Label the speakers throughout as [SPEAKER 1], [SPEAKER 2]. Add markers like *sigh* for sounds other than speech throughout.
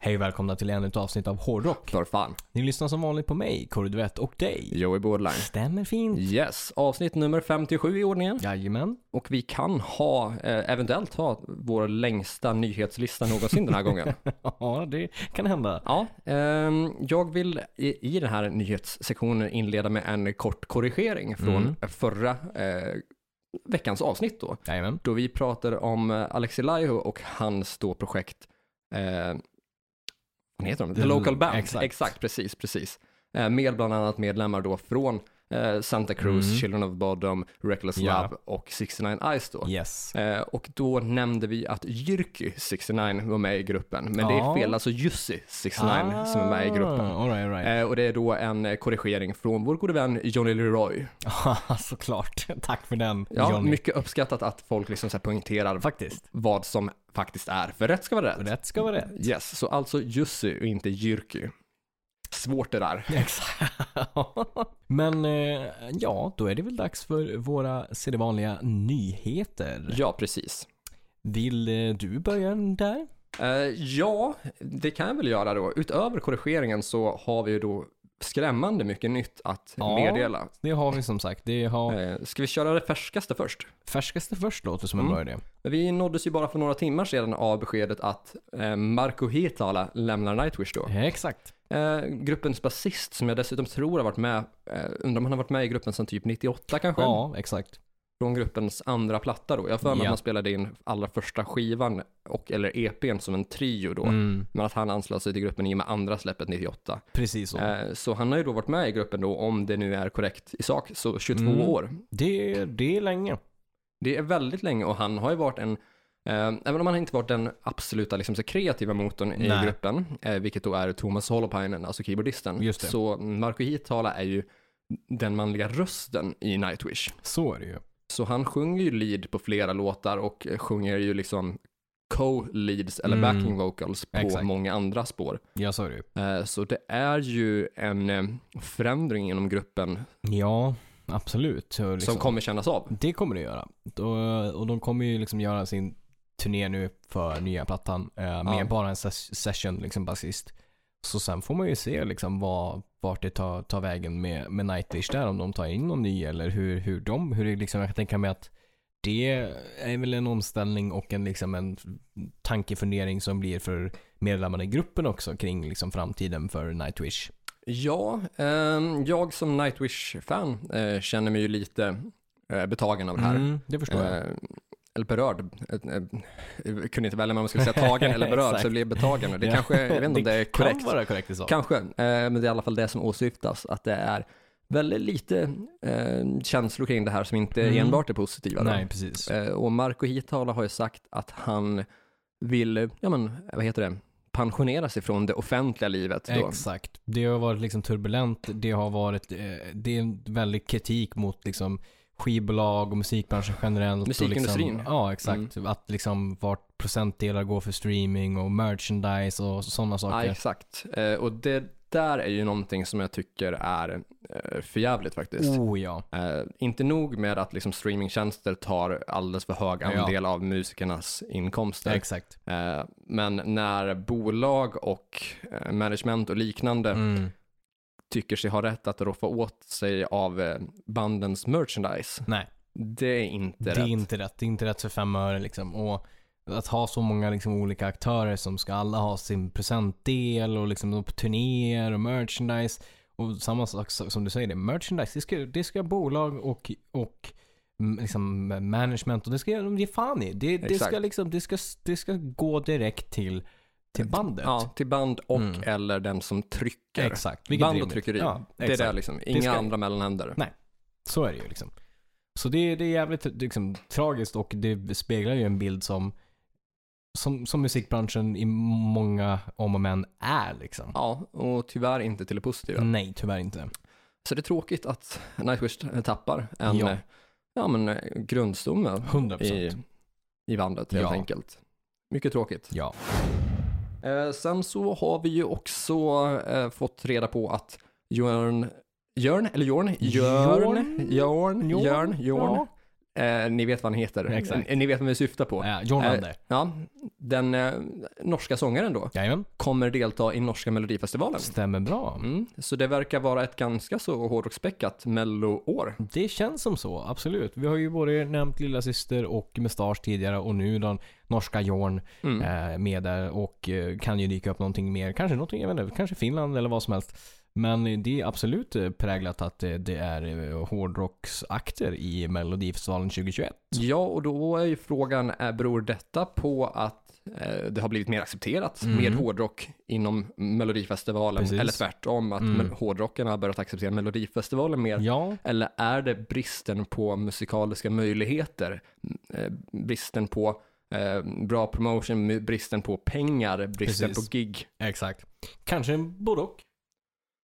[SPEAKER 1] Hej och välkomna till ännu ett avsnitt av Hårdrock.
[SPEAKER 2] För fan.
[SPEAKER 1] Ni lyssnar som vanligt på mig, Kurre Duett och dig.
[SPEAKER 2] Joey Borderline.
[SPEAKER 1] Stämmer fint.
[SPEAKER 2] Yes, avsnitt nummer 57 i ordningen.
[SPEAKER 1] Jajamän.
[SPEAKER 2] *laughs* Och vi kan ha, eh, eventuellt ha, vår längsta nyhetslista någonsin den här gången.
[SPEAKER 1] Ja, det kan hända.
[SPEAKER 2] Ja, ehm, jag vill i, i den här nyhetssektionen inleda med en kort korrigering från förra eh, veckans avsnitt då.
[SPEAKER 1] Jajamän.
[SPEAKER 2] Då vi pratade om eh, Alexi Laiho och hans då projekt, eh, vad heter de? The,
[SPEAKER 1] The-
[SPEAKER 2] Local Band.
[SPEAKER 1] Mm, exakt.
[SPEAKER 2] Exakt, precis, precis. Eh, med bland annat medlemmar då från eh, Santa Cruz,
[SPEAKER 1] Mm.
[SPEAKER 2] Children of Bodom, Reckless
[SPEAKER 1] Ja.
[SPEAKER 2] Love och 69 Eyes då.
[SPEAKER 1] Yes.
[SPEAKER 2] Eh, och då nämnde vi att Jyrki 69 var med i gruppen, men det
[SPEAKER 1] Ja. Ah,
[SPEAKER 2] är fel, alltså Jussi 69 som är med i gruppen.
[SPEAKER 1] All right, all right.
[SPEAKER 2] Eh, och det är då en eh, korrigering från vår gode vän Johnny Leroy.
[SPEAKER 1] Haha, *laughs* Såklart. Tack för den,
[SPEAKER 2] Eh. Ja,
[SPEAKER 1] Johnny.
[SPEAKER 2] mycket uppskattat att folk liksom så här poängterar
[SPEAKER 1] Faktiskt.
[SPEAKER 2] vad som faktiskt är, för rätt ska vara rätt.
[SPEAKER 1] Rätt ska vara rätt.
[SPEAKER 2] Yes, så alltså Jussi och inte Jyrki. Svårt det där.
[SPEAKER 1] Exakt. *laughs* Men eh, ja, då är det väl dags för våra sedvanliga nyheter.
[SPEAKER 2] Ja, precis.
[SPEAKER 1] Vill eh, du börja där?
[SPEAKER 2] Eh, ja, det kan jag väl göra då. Utöver korrigeringen så har vi ju då skrämmande mycket nytt att
[SPEAKER 1] Ja.
[SPEAKER 2] meddela.
[SPEAKER 1] Det har vi som sagt. Det har
[SPEAKER 2] Eh, ska vi köra det färskaste först?
[SPEAKER 1] färskaste först låter som en
[SPEAKER 2] Mm.
[SPEAKER 1] bra idé.
[SPEAKER 2] Vi nåddes ju bara för några timmar sedan av beskedet att eh, Marco Hietala lämnar Nightwish då.
[SPEAKER 1] Exakt.
[SPEAKER 2] Eh, gruppens basist som jag dessutom tror har varit med, eh, undrar om han har varit med i gruppen sedan typ 98 kanske?
[SPEAKER 1] Ja, exakt.
[SPEAKER 2] Från gruppens andra platta då. Jag har för mig
[SPEAKER 1] Ja.
[SPEAKER 2] att man spelade in allra första skivan och eller EPn som en trio då.
[SPEAKER 1] Mm,
[SPEAKER 2] Men att han anslöt sig till gruppen i och med andra släppet 98.
[SPEAKER 1] precis så.
[SPEAKER 2] Eh, så han har ju då varit med i gruppen då, om det nu är korrekt i sak, så 22
[SPEAKER 1] Mm.
[SPEAKER 2] år.
[SPEAKER 1] Det, det är länge.
[SPEAKER 2] Det är väldigt länge och han har ju varit en, eh, även om han inte varit den absoluta liksom, så kreativa motorn
[SPEAKER 1] Nej.
[SPEAKER 2] i gruppen, eh, vilket då är Thomas Holopainen, alltså keyboardisten,
[SPEAKER 1] Just det.
[SPEAKER 2] så Marco Hietala är ju den manliga rösten i Nightwish.
[SPEAKER 1] Så är det ju.
[SPEAKER 2] Så han sjunger ju lead på flera låtar och eh, sjunger ju liksom co-leads eller
[SPEAKER 1] Mm.
[SPEAKER 2] backing vocals på
[SPEAKER 1] Exakt.
[SPEAKER 2] många andra spår.
[SPEAKER 1] Jag sa det ju.
[SPEAKER 2] Eh, Så det är ju en eh, förändring inom gruppen
[SPEAKER 1] Ja, absolut. Så Liksom,
[SPEAKER 2] som kommer kännas av.
[SPEAKER 1] Det kommer det göra. Och, och de kommer ju liksom göra sin turné nu för nya plattan eh, med
[SPEAKER 2] Ja.
[SPEAKER 1] bara en ses- session liksom basist. Så sen får man ju se liksom vad, vart det tar, tar vägen med, med Nightwish där. Om de tar in någon ny eller hur, hur de, hur det liksom, jag kan tänka mig att det är väl en omställning och en, liksom en tankefundering som blir för medlemmarna i gruppen också kring liksom framtiden för Nightwish.
[SPEAKER 2] Ja, ehm, jag som Nightwish-fan eh, känner mig ju lite eh, betagen av det här.
[SPEAKER 1] Mm, det förstår jag.
[SPEAKER 2] Eh, eller berörd. Eh, eh, Jag kunde inte välja om man skulle säga tagen eller berörd,
[SPEAKER 1] *laughs* Exakt.
[SPEAKER 2] så det blev betagen. Och Det
[SPEAKER 1] Ja.
[SPEAKER 2] kanske, jag vet inte om det är korrekt.
[SPEAKER 1] Kan vara korrekt i sak.
[SPEAKER 2] Kanske, eh, men det är i alla fall det som åsyftas. Att det är väldigt lite eh, känslor kring det här som inte
[SPEAKER 1] Mm.
[SPEAKER 2] enbart är positiva. då.
[SPEAKER 1] Nej, precis.
[SPEAKER 2] Eh, och Marco Hietala har ju sagt att han vill, eh, ja men vad heter det, pensionera sig från det offentliga livet. Då.
[SPEAKER 1] Exakt. Det har varit liksom turbulent. Det har varit, eh, det är en väldig kritik mot liksom skivbolag och musikbranschen generellt. Och
[SPEAKER 2] Musikindustrin. Mm.
[SPEAKER 1] liksom, ja, exakt. Att liksom vart procentdelar går för streaming och merchandise och sådana
[SPEAKER 2] Ja,
[SPEAKER 1] saker.
[SPEAKER 2] exakt. Eh, och det där är ju någonting som jag tycker är eh, förjävligt faktiskt.
[SPEAKER 1] oh ja.
[SPEAKER 2] Eh, inte nog med att liksom streamingtjänster tar alldeles för hög
[SPEAKER 1] Ja.
[SPEAKER 2] andel av musikernas inkomster.
[SPEAKER 1] Exakt.
[SPEAKER 2] Eh, men när bolag och eh, management och liknande
[SPEAKER 1] Mm.
[SPEAKER 2] tycker sig ha rätt att roffa åt sig av eh, bandens merchandise,
[SPEAKER 1] Nej,
[SPEAKER 2] det är inte
[SPEAKER 1] det är,
[SPEAKER 2] rätt.
[SPEAKER 1] inte rätt. Det är inte rätt för fem öre liksom. Och att ha så många liksom, olika aktörer som ska alla ha sin procentdel och liksom de på turnéer och merchandise. Och samma sak så- som du säger, det, merchandise, det ska, det ska bolag och, och mm, liksom management och det ska de ge fan i. Det, det, ska,
[SPEAKER 2] Exakt.
[SPEAKER 1] liksom, det, ska, det ska gå direkt till, till bandet.
[SPEAKER 2] Ja, till band och
[SPEAKER 1] Mm.
[SPEAKER 2] eller den som trycker.
[SPEAKER 1] Exakt. vilket är
[SPEAKER 2] Band och
[SPEAKER 1] rimligt.
[SPEAKER 2] tryckeri.
[SPEAKER 1] Ja,
[SPEAKER 2] det är det
[SPEAKER 1] exakt.
[SPEAKER 2] liksom. Inga
[SPEAKER 1] ska-
[SPEAKER 2] andra mellanhänder.
[SPEAKER 1] Så är det ju liksom. Så det, det är jävligt liksom, tragiskt och det speglar ju en bild som, som, som musikbranschen i många om och men är liksom.
[SPEAKER 2] Ja, och tyvärr inte till det positiva.
[SPEAKER 1] Nej, tyvärr inte.
[SPEAKER 2] Så det är tråkigt att Nightwish eh, tappar en
[SPEAKER 1] Ja.
[SPEAKER 2] ja. Ja, men, eh, grundstomme
[SPEAKER 1] 100%.
[SPEAKER 2] i, i bandet helt
[SPEAKER 1] Ja.
[SPEAKER 2] enkelt. Mycket tråkigt.
[SPEAKER 1] Ja.
[SPEAKER 2] Eh, sen så har vi ju också eh, fått reda på att Jörn, Jörn, eller Jörn, Jörn,
[SPEAKER 1] Jörn?
[SPEAKER 2] Jörn, Jörn, Jörn,
[SPEAKER 1] Ja.
[SPEAKER 2] Eh, ni vet vad han heter.
[SPEAKER 1] Exakt.
[SPEAKER 2] Ni- Ni vet vad vi syftar på.
[SPEAKER 1] Ja, John
[SPEAKER 2] Eh,
[SPEAKER 1] Lander.
[SPEAKER 2] Ja, den eh, norska sångaren då
[SPEAKER 1] Jajamän.
[SPEAKER 2] kommer delta i norska melodifestivalen.
[SPEAKER 1] Stämmer bra.
[SPEAKER 2] Mm, så det verkar vara ett ganska så hårdrocksspäckat mello-år.
[SPEAKER 1] Det känns som så, absolut. Vi har ju både nämnt lilla syster och Mustasch tidigare och nu den norska Jorn
[SPEAKER 2] Mm.
[SPEAKER 1] eh, med där och eh, kan ju dyka upp någonting mer. Kanske någonting, jag vet inte, kanske Finland eller vad som helst. Men det är absolut eh, präglat att eh, det är eh, hårdrocksakter i Melodifestivalen 2021.
[SPEAKER 2] Ja, och då är ju frågan, eh, beror detta på att eh, det har blivit mer accepterat
[SPEAKER 1] Mm.
[SPEAKER 2] med hårdrock inom Melodifestivalen?
[SPEAKER 1] Precis.
[SPEAKER 2] Eller tvärtom, att
[SPEAKER 1] Mm.
[SPEAKER 2] mel- hårdrocken har börjat acceptera Melodifestivalen mer?
[SPEAKER 1] Ja,
[SPEAKER 2] Eller är det bristen på musikaliska möjligheter, eh, bristen på eh, bra promotion, mu- bristen på pengar, bristen
[SPEAKER 1] Precis.
[SPEAKER 2] på gig?
[SPEAKER 1] exakt. Kanske en både och.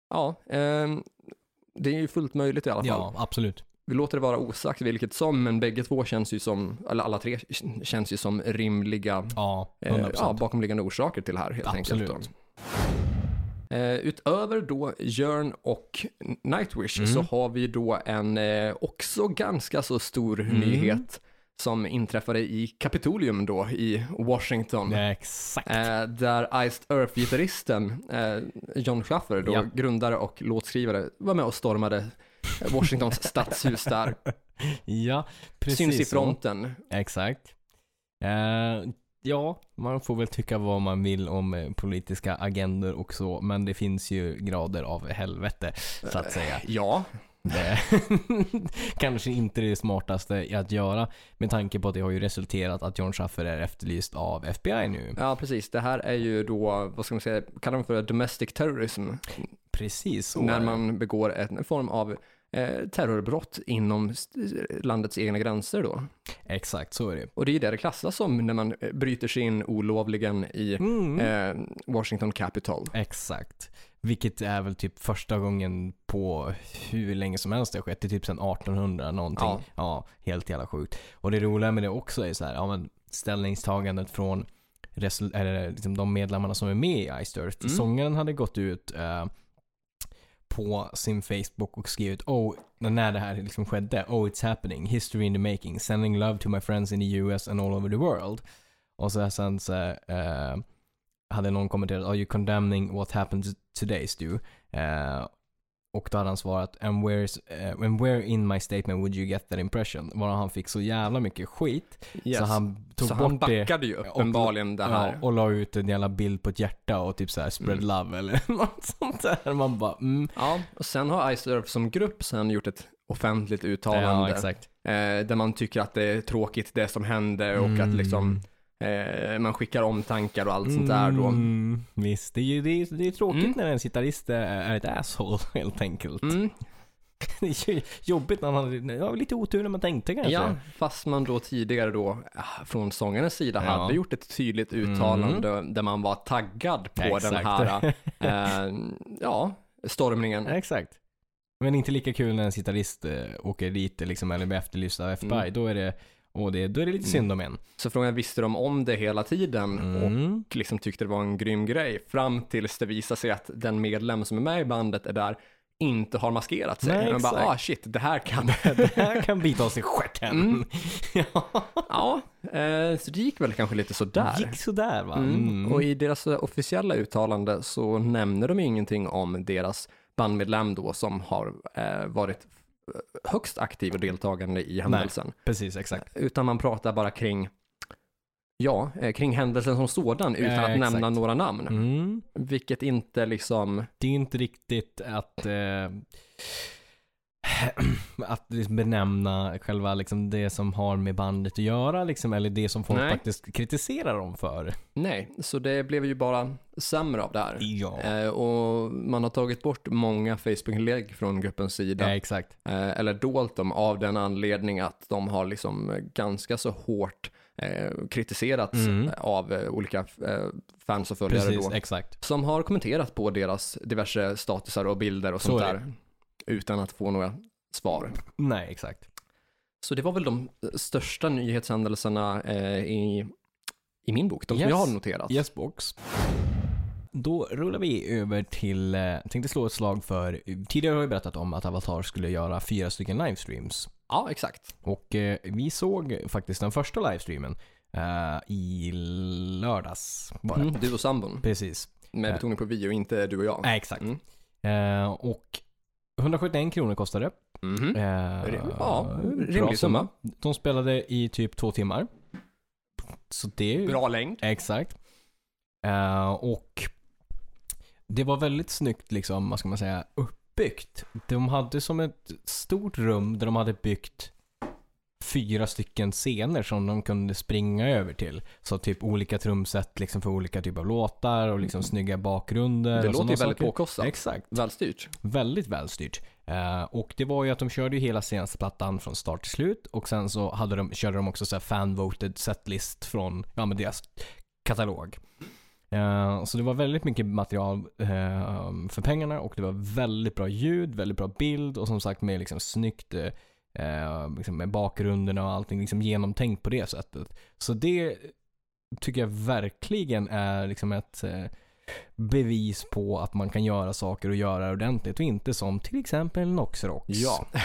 [SPEAKER 2] Ja, ehm, det är ju fullt möjligt i alla fall.
[SPEAKER 1] Ja, absolut.
[SPEAKER 2] Vi låter det vara osagt vilket som, men bägge två känns ju som, eller alla tre känns ju som rimliga
[SPEAKER 1] Ja,
[SPEAKER 2] eh,
[SPEAKER 1] 100%.
[SPEAKER 2] ja, bakomliggande orsaker till här helt
[SPEAKER 1] Absolut.
[SPEAKER 2] enkelt. Då. Eh, utöver då Jörn och Nightwish
[SPEAKER 1] Mm.
[SPEAKER 2] så har vi då en eh, också ganska så stor
[SPEAKER 1] Mm.
[SPEAKER 2] nyhet som inträffade i Kapitolium då i Washington.
[SPEAKER 1] Ja, Exakt.
[SPEAKER 2] Eh, där Iced Earth-gitarristen eh, John Schaffer, då,
[SPEAKER 1] Ja.
[SPEAKER 2] grundare och låtskrivare, var med och stormade Washingtons stadshus där.
[SPEAKER 1] Ja, *laughs* precis
[SPEAKER 2] Syns i
[SPEAKER 1] så.
[SPEAKER 2] fronten.
[SPEAKER 1] Exakt. Eh, ja, man får väl tycka vad man vill om eh, politiska agender och så, men det finns ju grader av helvete, så att säga.
[SPEAKER 2] Ja,
[SPEAKER 1] Det Eh, *laughs* kanske inte det smartaste att göra, med tanke på att det har ju resulterat att John Schaffer är efterlyst av FBI nu.
[SPEAKER 2] ja, precis. Det här är ju då, vad ska man säga, kallar man för domestic terrorism.
[SPEAKER 1] Precis så. är
[SPEAKER 2] när
[SPEAKER 1] det.
[SPEAKER 2] man begår en form av eh, terrorbrott inom st- landets egna gränser då.
[SPEAKER 1] Exakt, så är det.
[SPEAKER 2] Och det är ju det det klassas som när man eh, bryter sig in olovligen i
[SPEAKER 1] Mm.
[SPEAKER 2] eh, Washington Capitol.
[SPEAKER 1] Exakt. Vilket är väl typ första gången på hur länge som helst det har skett. Det är typ sedan 1800 någonting.
[SPEAKER 2] Ja.
[SPEAKER 1] Ja. helt jävla sjukt. Och det roliga med det också är så här, ja, men ställningstagandet från resul- eller liksom de medlemmarna som är med i Iced Earth.
[SPEAKER 2] Mm.
[SPEAKER 1] Sångaren hade gått ut eh, på sin Facebook och skrivit oh, när det här liksom skedde. Oh it's happening, history in the making, sending love to my friends in the US and all over the world. Och så sen så eh, hade någon kommenterat Are you condemning what happened today Stu? Eh, och då hade han svarat and, where's, eh, and where in my statement would you get that impression? Varav han fick så jävla mycket skit
[SPEAKER 2] Yes.
[SPEAKER 1] så han tog
[SPEAKER 2] Så
[SPEAKER 1] bort
[SPEAKER 2] han
[SPEAKER 1] det.
[SPEAKER 2] backade ju uppenbarligen det här.
[SPEAKER 1] Ja, och la ut en jävla bild på ett hjärta och typ såhär spread
[SPEAKER 2] Mm.
[SPEAKER 1] love eller *laughs* något sånt där. Man bara mm.
[SPEAKER 2] Ja, och sen har Ice Earth som grupp sen gjort ett offentligt
[SPEAKER 1] Ja,
[SPEAKER 2] uttalande
[SPEAKER 1] exakt.
[SPEAKER 2] eh, där man tycker att det är tråkigt det som hände och
[SPEAKER 1] Mm.
[SPEAKER 2] att liksom eh, man skickar omtankar och allt sånt där då.
[SPEAKER 1] Mm, visst, det är, ju- det är, det är tråkigt
[SPEAKER 2] Mm.
[SPEAKER 1] när en gitarrist är, är ett asshole *laughs* helt enkelt.
[SPEAKER 2] Mm,
[SPEAKER 1] Det är ju jobbigt när man hade ja, lite otur när man tänkte kanske.
[SPEAKER 2] ja, fast man då tidigare då ah, från sångarens sida
[SPEAKER 1] Ja. Mm.
[SPEAKER 2] hade gjort ett tydligt uttalande där man var taggad på
[SPEAKER 1] Exakt.
[SPEAKER 2] den
[SPEAKER 1] *laughs*
[SPEAKER 2] här eh, ja, stormningen.
[SPEAKER 1] Exakt. Men inte lika kul när en gitarrist eh, åker dit liksom, eller blir efterlyst av FBI.
[SPEAKER 2] Mm.
[SPEAKER 1] Då, är det, och det, då är det lite synd om en.
[SPEAKER 2] Så frågan är, visste de om det hela tiden och
[SPEAKER 1] Mm.
[SPEAKER 2] och liksom tyckte det var en grym grej fram tills det visar sig att den medlem som är med i bandet är där inte har maskerat sig.
[SPEAKER 1] Nej,
[SPEAKER 2] Man bara,
[SPEAKER 1] exakt.
[SPEAKER 2] ah shit, det här kan... *laughs*
[SPEAKER 1] Det här kan bita oss i stjärten.
[SPEAKER 2] Mm.
[SPEAKER 1] *laughs* ja.
[SPEAKER 2] ja, eh, så det gick väl kanske lite sådär.
[SPEAKER 1] Gick sådär va?
[SPEAKER 2] Mm.
[SPEAKER 1] Mm.
[SPEAKER 2] Och i deras eh, officiella uttalande så nämner de ju ingenting om deras bandmedlem då som har eh, varit eh, högst aktiv och deltagande i händelsen.
[SPEAKER 1] Precis, exakt.
[SPEAKER 2] Utan man pratar bara kring, ja, eh, kring händelsen som sådan utan
[SPEAKER 1] Eh,
[SPEAKER 2] att
[SPEAKER 1] exakt.
[SPEAKER 2] nämna några namn.
[SPEAKER 1] Mm.
[SPEAKER 2] Vilket inte liksom,
[SPEAKER 1] Det är ju inte riktigt att, eh, *clears throat* att liksom benämna själva liksom, det som har med bandet att göra. Liksom, eller det som folk
[SPEAKER 2] Nej.
[SPEAKER 1] faktiskt kritiserar dem för.
[SPEAKER 2] Nej, så det blev ju bara sämre av det här.
[SPEAKER 1] *laughs* Ja,
[SPEAKER 2] Eh, och man har tagit bort många Facebook-inlägg från gruppens sida.
[SPEAKER 1] ja exakt.
[SPEAKER 2] Eh, eller dolt dem av den anledning att de har liksom eh, ganska så hårt eh, kritiserats
[SPEAKER 1] Mm.
[SPEAKER 2] eh, av eh, olika eh, fans och följare
[SPEAKER 1] Precis,
[SPEAKER 2] då.
[SPEAKER 1] exakt.
[SPEAKER 2] Som har kommenterat på deras diverse statusar och bilder och
[SPEAKER 1] Så
[SPEAKER 2] sånt
[SPEAKER 1] är
[SPEAKER 2] där. Utan att få några svar.
[SPEAKER 1] Nej, exakt.
[SPEAKER 2] Så det var väl de eh, största nyhetshändelserna eh, i, i min bok. De som
[SPEAKER 1] Yes.
[SPEAKER 2] jag har noterat.
[SPEAKER 1] Yes box. Då rullar vi över till, eh, tänkte slå ett slag för, tidigare har jag berättat om att Avatar skulle göra fyra stycken livestreams.
[SPEAKER 2] Ja, exakt.
[SPEAKER 1] Och eh, vi såg faktiskt den första livestreamen eh, i lördags bara.
[SPEAKER 2] Mm. Du och sambon.
[SPEAKER 1] Precis.
[SPEAKER 2] Med betoning på vi och inte du och jag.
[SPEAKER 1] Nej, exakt.
[SPEAKER 2] Mm.
[SPEAKER 1] Eh, och 171 kronor kostade det.
[SPEAKER 2] Mhm.
[SPEAKER 1] Eh,
[SPEAKER 2] Rim- Ja,
[SPEAKER 1] bra
[SPEAKER 2] rimlig summa.
[SPEAKER 1] De spelade i typ två timmar. Så det är ju...
[SPEAKER 2] Bra längd.
[SPEAKER 1] Exakt. Eh, och det var väldigt snyggt liksom, vad ska man säga, uppbyggt. De hade som ett stort rum där de hade byggt fyra stycken scener som de kunde springa över till. Så typ olika trumset liksom för olika typer av låtar och liksom snygga bakgrunder.
[SPEAKER 2] Det
[SPEAKER 1] och
[SPEAKER 2] låter
[SPEAKER 1] sådana
[SPEAKER 2] ju väldigt
[SPEAKER 1] saker.
[SPEAKER 2] påkostat.
[SPEAKER 1] Exakt.
[SPEAKER 2] Välstyrt.
[SPEAKER 1] Väldigt välstyrt. Eh, och det var ju att de körde ju hela senaste plattan från start till slut och sen så hade de, körde de också så här fan-voted setlist från ja, men deras katalog. Eh, så det var väldigt mycket material eh, för pengarna och det var väldigt bra ljud, väldigt bra bild och som sagt med liksom snyggt eh, eh, liksom med bakgrunderna och allting liksom genomtänkt på det sättet. Så det tycker jag verkligen är liksom ett eh, bevis på att man kan göra saker och göra det ordentligt och inte som till exempel Noxrox.
[SPEAKER 2] Ja.
[SPEAKER 1] *laughs*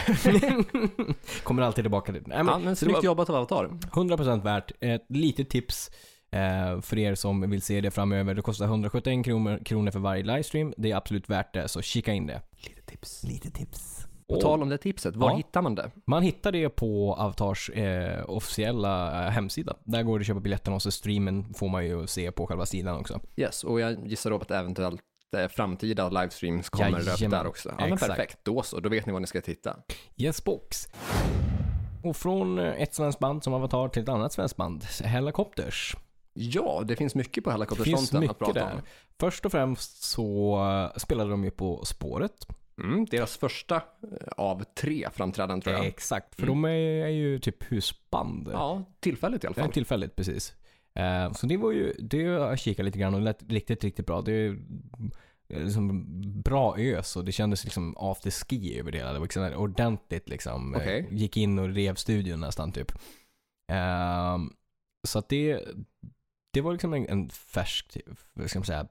[SPEAKER 1] Kommer alltid tillbaka till. Nej, men,
[SPEAKER 2] Ja, men
[SPEAKER 1] så det
[SPEAKER 2] snyggt
[SPEAKER 1] var
[SPEAKER 2] jobbat av Avatar.
[SPEAKER 1] 100% värt. Ett litet tips eh, för er som vill se det framöver. Det kostar 171 kronor, kronor för varje livestream. Det är absolut värt det, så kika in det.
[SPEAKER 2] Lite tips.
[SPEAKER 1] Lite tips.
[SPEAKER 2] På tal om det tipset, var
[SPEAKER 1] Ja.
[SPEAKER 2] hittar man det?
[SPEAKER 1] Man hittar det på Avatars eh, officiella eh, hemsida. Där går det att köpa biljetterna och så streamen får man ju se på själva sidan också.
[SPEAKER 2] Yes, och jag gissar då att eventuellt eh, framtida livestreams kommer upp
[SPEAKER 1] Jajamän.
[SPEAKER 2] där också. Ja, men
[SPEAKER 1] Exakt.
[SPEAKER 2] perfekt. Då så, då vet ni var ni ska titta.
[SPEAKER 1] Yes box. Och från eh, ett svenskt band som Avatar till ett annat svenskt band, Hellacopters.
[SPEAKER 2] Ja, det finns mycket på
[SPEAKER 1] Det finns
[SPEAKER 2] helikopterfronten att
[SPEAKER 1] mycket
[SPEAKER 2] prata
[SPEAKER 1] där. Först och främst så eh, spelade de ju På spåret.
[SPEAKER 2] om. Mm, deras första eh, av tre framträdanden tror jag. Mm.
[SPEAKER 1] Exakt, för de är, är ju typ husband.
[SPEAKER 2] Ja, tillfälligt i alla
[SPEAKER 1] Det är
[SPEAKER 2] fall.
[SPEAKER 1] tillfälligt, precis. Eh, Så det var ju, det jag kikade lite grann och det lät riktigt, riktigt bra. Det är eh, liksom bra ös och det kändes liksom afterski över det hela. Det var liksom ordentligt liksom. eh,
[SPEAKER 2] Okej.
[SPEAKER 1] Gick in och rev studion nästan typ. Ehm, Så att det, det var liksom en, en färsk, vad ska man säga,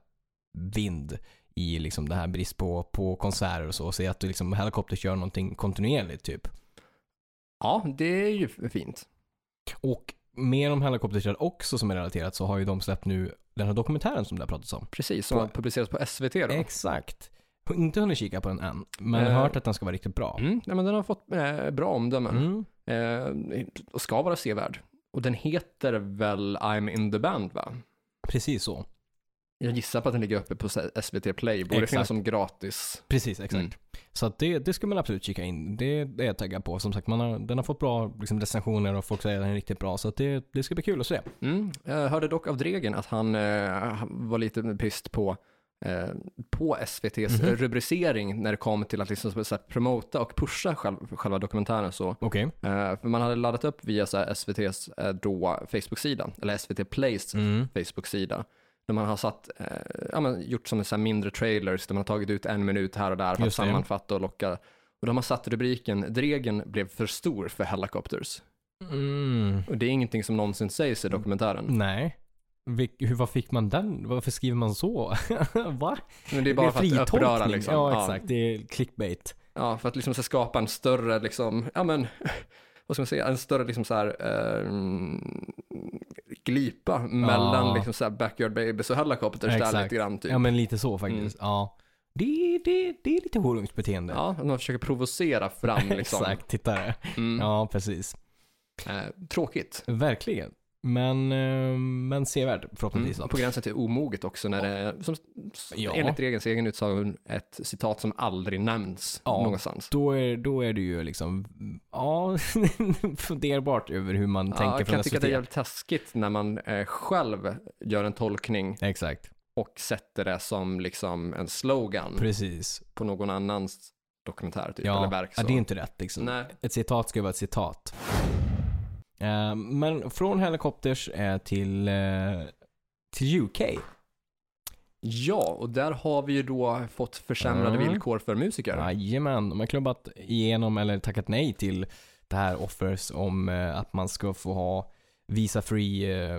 [SPEAKER 1] vind i liksom det här brist på, på konserter och så. Se att du liksom helikopter kör någonting kontinuerligt typ.
[SPEAKER 2] Ja, det är ju fint.
[SPEAKER 1] Och med de helikopterträd också som är relaterat så har ju de släppt nu den här dokumentären som det har pratats om.
[SPEAKER 2] Precis, som har
[SPEAKER 1] På-
[SPEAKER 2] publicerats på SVT då.
[SPEAKER 1] Exakt. Har Inte hunnit kika på den än, men
[SPEAKER 2] Eh.
[SPEAKER 1] hört att den ska vara riktigt bra.
[SPEAKER 2] Mm, nej, men den har fått eh, bra omdömen
[SPEAKER 1] Mm.
[SPEAKER 2] eh, och ska vara sevärd. Och den heter väl I'm in the band va?
[SPEAKER 1] Precis så.
[SPEAKER 2] Jag gissar på att den ligger uppe på SVT Play, borde
[SPEAKER 1] Exakt.
[SPEAKER 2] finnas som gratis.
[SPEAKER 1] Precis, exakt.
[SPEAKER 2] Mm.
[SPEAKER 1] Så att det, det ska man absolut kika in. Det, det är jag taggad på. Som sagt, man har, den har fått bra liksom, recensioner och folk säger att den är riktigt bra. Så att det, det ska bli kul att se.
[SPEAKER 2] Mm. Jag hörde dock av Dregen att han eh, var lite pist på, eh, på SVTs
[SPEAKER 1] Mhm.
[SPEAKER 2] rubricering när det kom till att liksom, så här, promota och pusha själv, själva dokumentären. Så.
[SPEAKER 1] Okej.
[SPEAKER 2] Eh, för man hade laddat upp via så här, SVTs eh, då Facebook-sida, eller SVT Plays
[SPEAKER 1] Mm.
[SPEAKER 2] Facebook-sida. Där man har satt, eh, ja, men gjort som så här mindre trailers där man har tagit ut en minut här och där för att
[SPEAKER 1] Just det.
[SPEAKER 2] sammanfatta och locka. Och de har satt rubriken Dregen blev för stor för Helicopters.
[SPEAKER 1] Mm.
[SPEAKER 2] Och det är ingenting som någonsin sägs i dokumentären.
[SPEAKER 1] Nej. Vil, hur, vad fick man den? Varför skriver man så? *laughs* Va?
[SPEAKER 2] Men det är bara för att
[SPEAKER 1] fritolkning.
[SPEAKER 2] uppröra liksom.
[SPEAKER 1] Ja, exakt. Det är clickbait.
[SPEAKER 2] Ja, för att liksom så skapa en större, liksom, ja men, *laughs* vad ska man säga, en större liksom så här, eh, mm, glipa mellan liksom så här backyard babies och helicopters där
[SPEAKER 1] Exakt.
[SPEAKER 2] lite grann typ. Mm.
[SPEAKER 1] Ja men lite så faktiskt. Ja. Det, det, det är lite horungsbeteende.
[SPEAKER 2] Ja, att man försöker provocera fram liksom.
[SPEAKER 1] *laughs* Exakt, tittare.
[SPEAKER 2] Mm.
[SPEAKER 1] Ja, precis.
[SPEAKER 2] Eh, tråkigt.
[SPEAKER 1] Verkligen. Men, eh, men sevärd förhoppningsvis.
[SPEAKER 2] Mm.
[SPEAKER 1] då.
[SPEAKER 2] På gränsen till omoget också när det är, som,
[SPEAKER 1] Ja.
[SPEAKER 2] enligt regens egen utsago, ett citat som aldrig nämns
[SPEAKER 1] Ja.
[SPEAKER 2] någonstans.
[SPEAKER 1] Då är, då är det ju liksom, ja, *laughs* funderbart över hur man
[SPEAKER 2] Ja,
[SPEAKER 1] tänker
[SPEAKER 2] jag
[SPEAKER 1] från
[SPEAKER 2] kan tycka
[SPEAKER 1] SVT.
[SPEAKER 2] att det är jävligt taskigt när man eh, själv gör en tolkning
[SPEAKER 1] Exakt,
[SPEAKER 2] och sätter det som liksom en slogan
[SPEAKER 1] precis.
[SPEAKER 2] på någon annans dokumentär typ, eller
[SPEAKER 1] Ja,
[SPEAKER 2] verk. Så.
[SPEAKER 1] ja, det är inte rätt liksom.
[SPEAKER 2] Nej.
[SPEAKER 1] Ett citat ska ju vara ett citat. Eh, Men från helikopters eh, till, eh, till UK.
[SPEAKER 2] ja, och där har vi ju då fått försämrade
[SPEAKER 1] Mm.
[SPEAKER 2] villkor för musiker.
[SPEAKER 1] Jajamän, de har klubbat igenom eller tackat nej till det här offers om eh, att man ska få ha visa free, eh,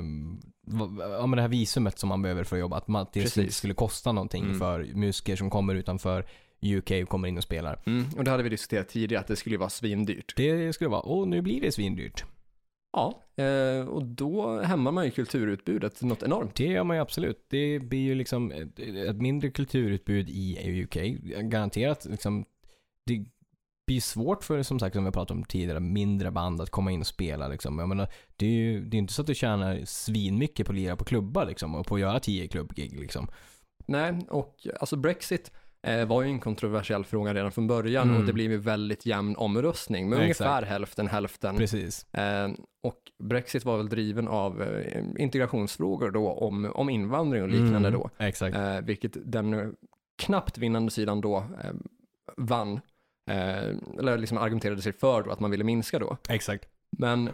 [SPEAKER 1] vad- ja men det här visumet som man behöver för att jobba, att man, att det
[SPEAKER 2] Precis.
[SPEAKER 1] inte skulle kosta någonting
[SPEAKER 2] Mm.
[SPEAKER 1] för musiker som kommer utanför UK kommer in och spelar.
[SPEAKER 2] Mm. Och det hade vi diskuterat tidigare, att det skulle ju vara svindyrt.
[SPEAKER 1] Det skulle vara, och nu blir det svindyrt.
[SPEAKER 2] Ja, eh, och då hämmar man ju kulturutbudet något enormt.
[SPEAKER 1] Det gör man ju absolut. Det blir ju liksom ett, ett mindre kulturutbud i UK. Garanterat liksom, det blir svårt för, som sagt, som vi pratat om tidigare, mindre band att komma in och spela liksom. Jag menar, det är ju det är inte så att du tjänar svinmycket på att lira på klubbar liksom och på att göra 10 klubbgig liksom.
[SPEAKER 2] Mm. Nej, och alltså Brexit eh, var ju en kontroversiell fråga redan från början
[SPEAKER 1] Mm.
[SPEAKER 2] och det blev ju väldigt jämn omröstning med
[SPEAKER 1] Ja,
[SPEAKER 2] ungefär hälften hälften.
[SPEAKER 1] Precis.
[SPEAKER 2] Eh, och Brexit var väl driven av eh, integrationsfrågor då om, om invandring och liknande
[SPEAKER 1] Mm,
[SPEAKER 2] då,
[SPEAKER 1] Exakt.
[SPEAKER 2] eh, vilket den eh, knappt vinnande sidan då eh, vann, eh, eller liksom argumenterade sig för då att man ville minska då.
[SPEAKER 1] Exakt.
[SPEAKER 2] Men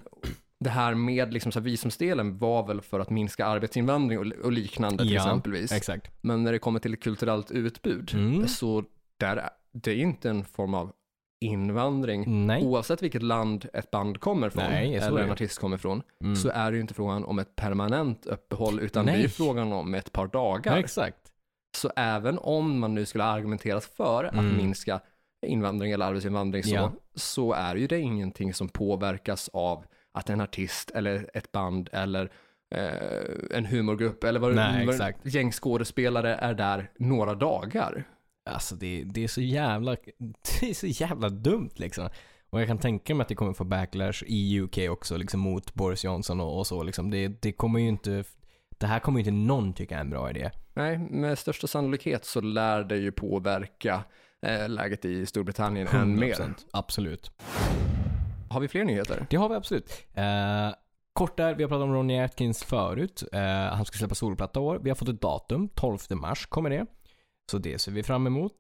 [SPEAKER 2] det här med liksom så här visumsdelen var väl för att minska arbetsinvandring och, och liknande till
[SPEAKER 1] Ja,
[SPEAKER 2] exempelvis.
[SPEAKER 1] Exakt.
[SPEAKER 2] Men när det kommer till kulturellt utbud
[SPEAKER 1] Mm.
[SPEAKER 2] så där, det är ju inte en form av invandring.
[SPEAKER 1] Nej.
[SPEAKER 2] Oavsett vilket land ett band kommer från
[SPEAKER 1] Nej, så är
[SPEAKER 2] eller
[SPEAKER 1] det
[SPEAKER 2] en
[SPEAKER 1] ju.
[SPEAKER 2] artist kommer från
[SPEAKER 1] Mm.
[SPEAKER 2] så är det ju inte frågan om ett permanent uppehåll utan det är
[SPEAKER 1] Nej.
[SPEAKER 2] ju frågan om ett par dagar.
[SPEAKER 1] Exakt.
[SPEAKER 2] Så även om man nu skulle argumentera för
[SPEAKER 1] Mm.
[SPEAKER 2] att minska invandring eller arbetsinvandring så,
[SPEAKER 1] Ja.
[SPEAKER 2] så är ju det ingenting som påverkas av att en artist eller ett band eller eh, en humorgrupp eller vad
[SPEAKER 1] Nej,
[SPEAKER 2] vad-
[SPEAKER 1] exakt.
[SPEAKER 2] gängskådespelare är där några dagar.
[SPEAKER 1] Alltså det, det är så jävla, *laughs* det är så jävla dumt liksom. Och jag kan tänka mig att det kommer få backlash i UK också liksom mot Boris Johnson och, och så liksom. Det, det kommer ju inte, det här kommer ju inte någon tycka är en bra idé.
[SPEAKER 2] Nej, med största sannolikhet så lär det ju påverka eh, läget i Storbritannien än mer.
[SPEAKER 1] 100%. Absolut.
[SPEAKER 2] Har vi fler nyheter?
[SPEAKER 1] Det har vi absolut. Eh, kort där, vi har pratat om Ronny Atkins förut. Eh, han ska släppa soloplatta i år. Vi har fått ett datum, 12 mars kommer det. Så det ser vi fram emot.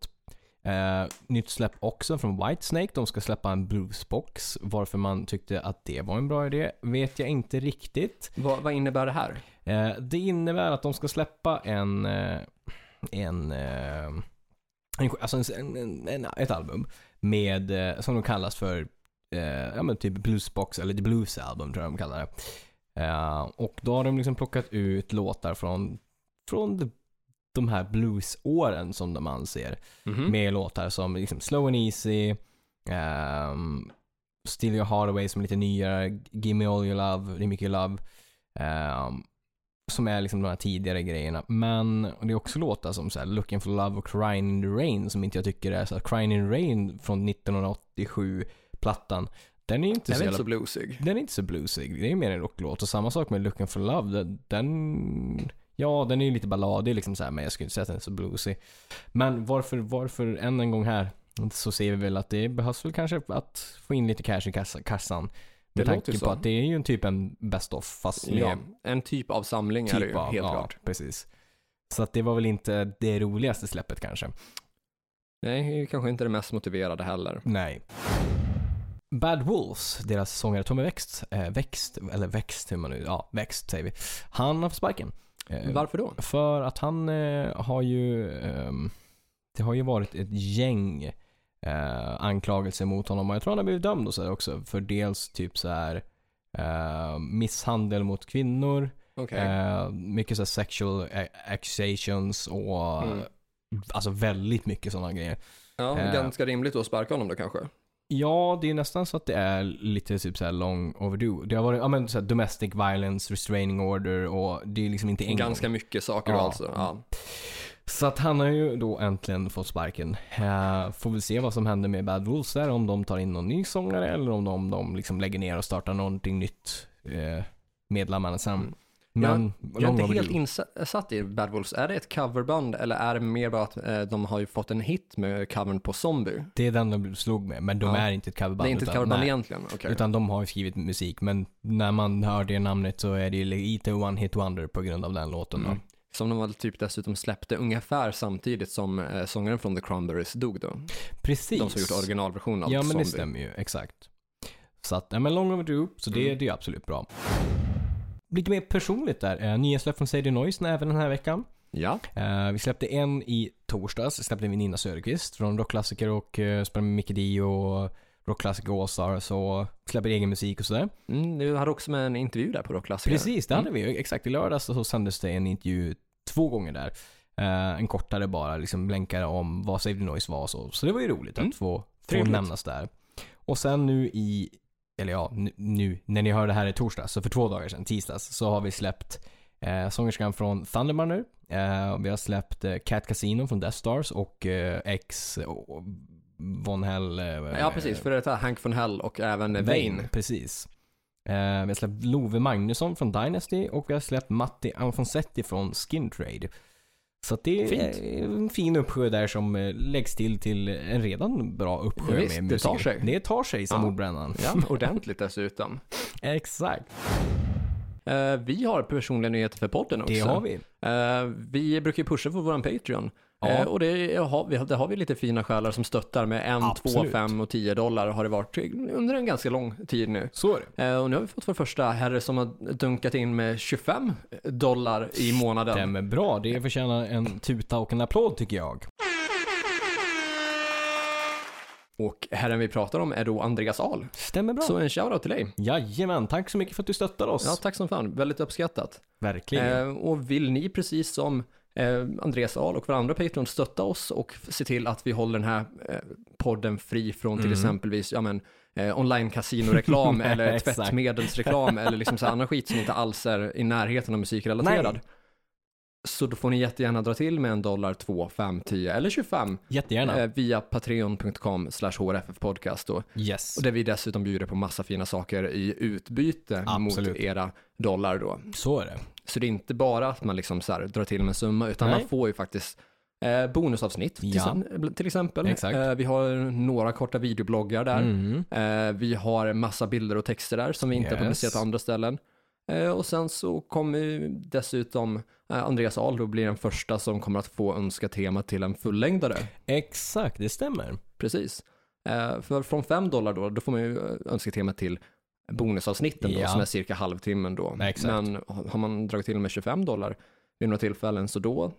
[SPEAKER 1] Eh, nytt släpp också från Whitesnake. De ska släppa en bluesbox. Varför man tyckte att det var en bra idé vet jag inte riktigt.
[SPEAKER 2] Vad, vad innebär det här?
[SPEAKER 1] Eh, det innebär att de ska släppa en... Eh, en, eh, en alltså en, en, en, ett album med, eh, som de kallas för, eh, ja men typ bluesbox eller The blues album tror jag de kallar det. Eh, och då har de liksom plockat ut låtar från, från de, de här bluesåren som de anser.
[SPEAKER 2] Mhm.
[SPEAKER 1] Med låtar som liksom Slow and Easy, ehm, Still Your Heart Away som är lite nyare, Give Me All Your Love, Det är mycket love. ehm, som är liksom de här tidigare grejerna. Men och det är också låtar som så här, Looking for Love och Crying in the Rain som inte jag tycker är så här, Crying in the Rain från 1987-plattan. Den är inte
[SPEAKER 2] Den
[SPEAKER 1] så,
[SPEAKER 2] är inte
[SPEAKER 1] jävla,
[SPEAKER 2] så bluesig.
[SPEAKER 1] den är inte så bluesig. Det är mer en rocklåt. Och samma sak med Looking for Love. Den, den ja, den är ju lite balladig liksom så här, men jag skulle inte säga att den är så bluesig. Men varför, varför än en gång här så ser vi väl att det behövs väl kanske att få in lite cash i kassa, kassan. Med
[SPEAKER 2] Det låter
[SPEAKER 1] tanke
[SPEAKER 2] ju
[SPEAKER 1] på
[SPEAKER 2] så.
[SPEAKER 1] att det är ju en typ en best of fast med
[SPEAKER 2] Ja, en typ av samling är det ju,
[SPEAKER 1] Typ av,
[SPEAKER 2] helt
[SPEAKER 1] ja,
[SPEAKER 2] klart.
[SPEAKER 1] precis. Så att det var väl inte det roligaste släppet kanske.
[SPEAKER 2] Nej, det är kanske inte det mest motiverade heller.
[SPEAKER 1] Nej. Bad Wolves, deras sångare Tommy Växt, eh, Växt, eller Växt hur man nu, ja Växt säger vi. Han har fått sparken. Eh,
[SPEAKER 2] Varför då?
[SPEAKER 1] För att han eh, har ju, ehm, det har ju varit ett gäng eh, anklagelser mot honom och jag tror han har blivit dömd och så här också för dels typ så här eh, misshandel mot kvinnor,
[SPEAKER 2] Okej.
[SPEAKER 1] Eh, mycket så här sexual a- accusations och
[SPEAKER 2] Mm.
[SPEAKER 1] alltså väldigt mycket sådana grejer.
[SPEAKER 2] ja,
[SPEAKER 1] eh.
[SPEAKER 2] ganska rimligt att sparka honom då kanske.
[SPEAKER 1] Ja, det är nästan så att det är lite typ så här long overdue. Det har varit ja, men, så här, domestic violence, restraining order och det är liksom inte en
[SPEAKER 2] Ganska mycket saker
[SPEAKER 1] Ja.
[SPEAKER 2] alltså. Ja.
[SPEAKER 1] Så att han har ju då äntligen fått sparken. Eh, får väl se vad som händer med Bad Wolves där, om de tar in någon ny sångare eller om de, om de liksom lägger ner och startar någonting nytt. Eh, medlemmarna sen.
[SPEAKER 2] Mm.
[SPEAKER 1] Men
[SPEAKER 2] Jag är
[SPEAKER 1] long
[SPEAKER 2] inte helt
[SPEAKER 1] overdue.
[SPEAKER 2] insatt i Bad Wolves. Är det ett coverband eller är det mer bara att eh, de har ju fått en hit med covern på Zombie?
[SPEAKER 1] Det är den de slog med, men de
[SPEAKER 2] Ja.
[SPEAKER 1] är inte ett coverband.
[SPEAKER 2] det är inte ett
[SPEAKER 1] utan-
[SPEAKER 2] coverband
[SPEAKER 1] nej.
[SPEAKER 2] egentligen? Okej.
[SPEAKER 1] Utan de har ju skrivit musik, men när man hör det namnet så är det ju lite One Hit Wonder på grund av den låten då.
[SPEAKER 2] Mm. Som de väl typ dessutom släppte ungefär samtidigt som eh, sångaren från The Cranberries dog då.
[SPEAKER 1] Precis.
[SPEAKER 2] De som gjort originalversionen av
[SPEAKER 1] Ja men
[SPEAKER 2] Zombie.
[SPEAKER 1] det stämmer ju, exakt. Så att, ja men Long Overdue, så det,
[SPEAKER 2] Mm.
[SPEAKER 1] det är absolut bra. Lite mer personligt där, eh, nya släpp från Sadie Noise även den här veckan.
[SPEAKER 2] Ja,
[SPEAKER 1] Eh, vi släppte en i torsdags, släppte vi Nina Söderqvist från rockklassiker och eh, spelade med Mickey D och rockklassiker Åsar, så släpper egen musik och sådär.
[SPEAKER 2] mm, du hade också med en intervju där på Rockklassiker.
[SPEAKER 1] Precis, det hade vi ju. Exakt, i lördags så sändes det en intervju två gånger där. Eh, en kortare bara, liksom blänkare om vad Save the Noise var och så. Så det var ju roligt
[SPEAKER 2] Mm.
[SPEAKER 1] att få, få
[SPEAKER 2] Trevligt.
[SPEAKER 1] nämnas där. Och sen nu i, eller ja, nu, nu när ni hör det här i torsdags, så för två dagar sedan, tisdags, så har vi släppt eh, sångerskan från Thunderman nu. Eh, vi har släppt eh, Cat Casino från Death Stars och eh, X och, och Von Hell. Eh,
[SPEAKER 2] Ja, precis. För det är Hank von Hell och även eh, Vane.
[SPEAKER 1] Precis. Eh, vi har släppt Love Magnusson från Dynasty och vi har släppt Matti Anfonsetti från Skin Trade. Så att det är
[SPEAKER 2] Fint.
[SPEAKER 1] en fin uppsjö där som eh, läggs till till en redan bra uppsjö
[SPEAKER 2] Visst,
[SPEAKER 1] med
[SPEAKER 2] det tar
[SPEAKER 1] musiker.
[SPEAKER 2] sig.
[SPEAKER 1] Det tar sig som
[SPEAKER 2] Ja.
[SPEAKER 1] ordbrännan.
[SPEAKER 2] Ja, *laughs* ordentligt dessutom.
[SPEAKER 1] Exakt.
[SPEAKER 2] Eh, vi har personliga nyheter för podden också.
[SPEAKER 1] Det har vi.
[SPEAKER 2] Eh, vi brukar ju pusha för vår Patreon.
[SPEAKER 1] Ja.
[SPEAKER 2] Eh, och det har, vi, det har vi lite fina själar som stöttar med 1, 2,
[SPEAKER 1] Absolut.
[SPEAKER 2] 5 och 10 dollar har det varit under en ganska lång tid nu.
[SPEAKER 1] Så är det.
[SPEAKER 2] Eh, och nu har vi fått vår första herre som har dunkat in med 25 dollar i månaden.
[SPEAKER 1] Stämmer bra. Det förtjänar en tuta och en applåd tycker jag.
[SPEAKER 2] Och herren vi pratar om är då Andreas Ahl.
[SPEAKER 1] Stämmer bra.
[SPEAKER 2] Så en shoutout till dig.
[SPEAKER 1] Jajamän, tack så mycket för att du stöttar oss.
[SPEAKER 2] Ja, tack som fan. Väldigt uppskattat.
[SPEAKER 1] Verkligen.
[SPEAKER 2] Eh, och vill ni precis som eh, Andreas Ahl och våra andra Patreon stötta oss och se till att vi håller den här eh, podden fri från
[SPEAKER 1] Mm.
[SPEAKER 2] till exempelvis ja, men, eh,
[SPEAKER 1] *laughs*
[SPEAKER 2] online kasinoreklam eller
[SPEAKER 1] Exakt.
[SPEAKER 2] tvättmedelsreklam eller liksom så här annan skit som inte alls är i närheten av musikrelaterad.
[SPEAKER 1] Nej.
[SPEAKER 2] Så då får ni jättegärna dra till med en dollar, två, fem, tio eller 25
[SPEAKER 1] Jättegärna.
[SPEAKER 2] eh, via patreon.com slash hrffpodcast. Och
[SPEAKER 1] yes.
[SPEAKER 2] och där vi dessutom bjuder på massa fina saker i utbyte
[SPEAKER 1] Absolut.
[SPEAKER 2] mot era dollar då.
[SPEAKER 1] Så är det.
[SPEAKER 2] Så det är inte bara att man liksom så här drar till med en summa, utan
[SPEAKER 1] Nej.
[SPEAKER 2] man får ju faktiskt eh, bonusavsnitt till,
[SPEAKER 1] Ja.
[SPEAKER 2] sen- till exempel.
[SPEAKER 1] Exakt.
[SPEAKER 2] Eh, vi har några korta videobloggar där.
[SPEAKER 1] Mm.
[SPEAKER 2] Eh, vi har massa bilder och texter där som vi inte har
[SPEAKER 1] Yes.
[SPEAKER 2] publicerat på andra ställen. Eh, och sen så kommer ju dessutom eh, Andreas Ahl då blir den första som kommer att få önska tema till en fullängdare.
[SPEAKER 1] Exakt, det stämmer.
[SPEAKER 2] Precis. Eh, för från 5 dollar då, då får man ju eh, önska tema till bonusavsnitten då,
[SPEAKER 1] Ja.
[SPEAKER 2] som är cirka halvtimmen då.
[SPEAKER 1] Nej, exakt.
[SPEAKER 2] Men har har man dragit till med 25 dollar vid några tillfällen, så då,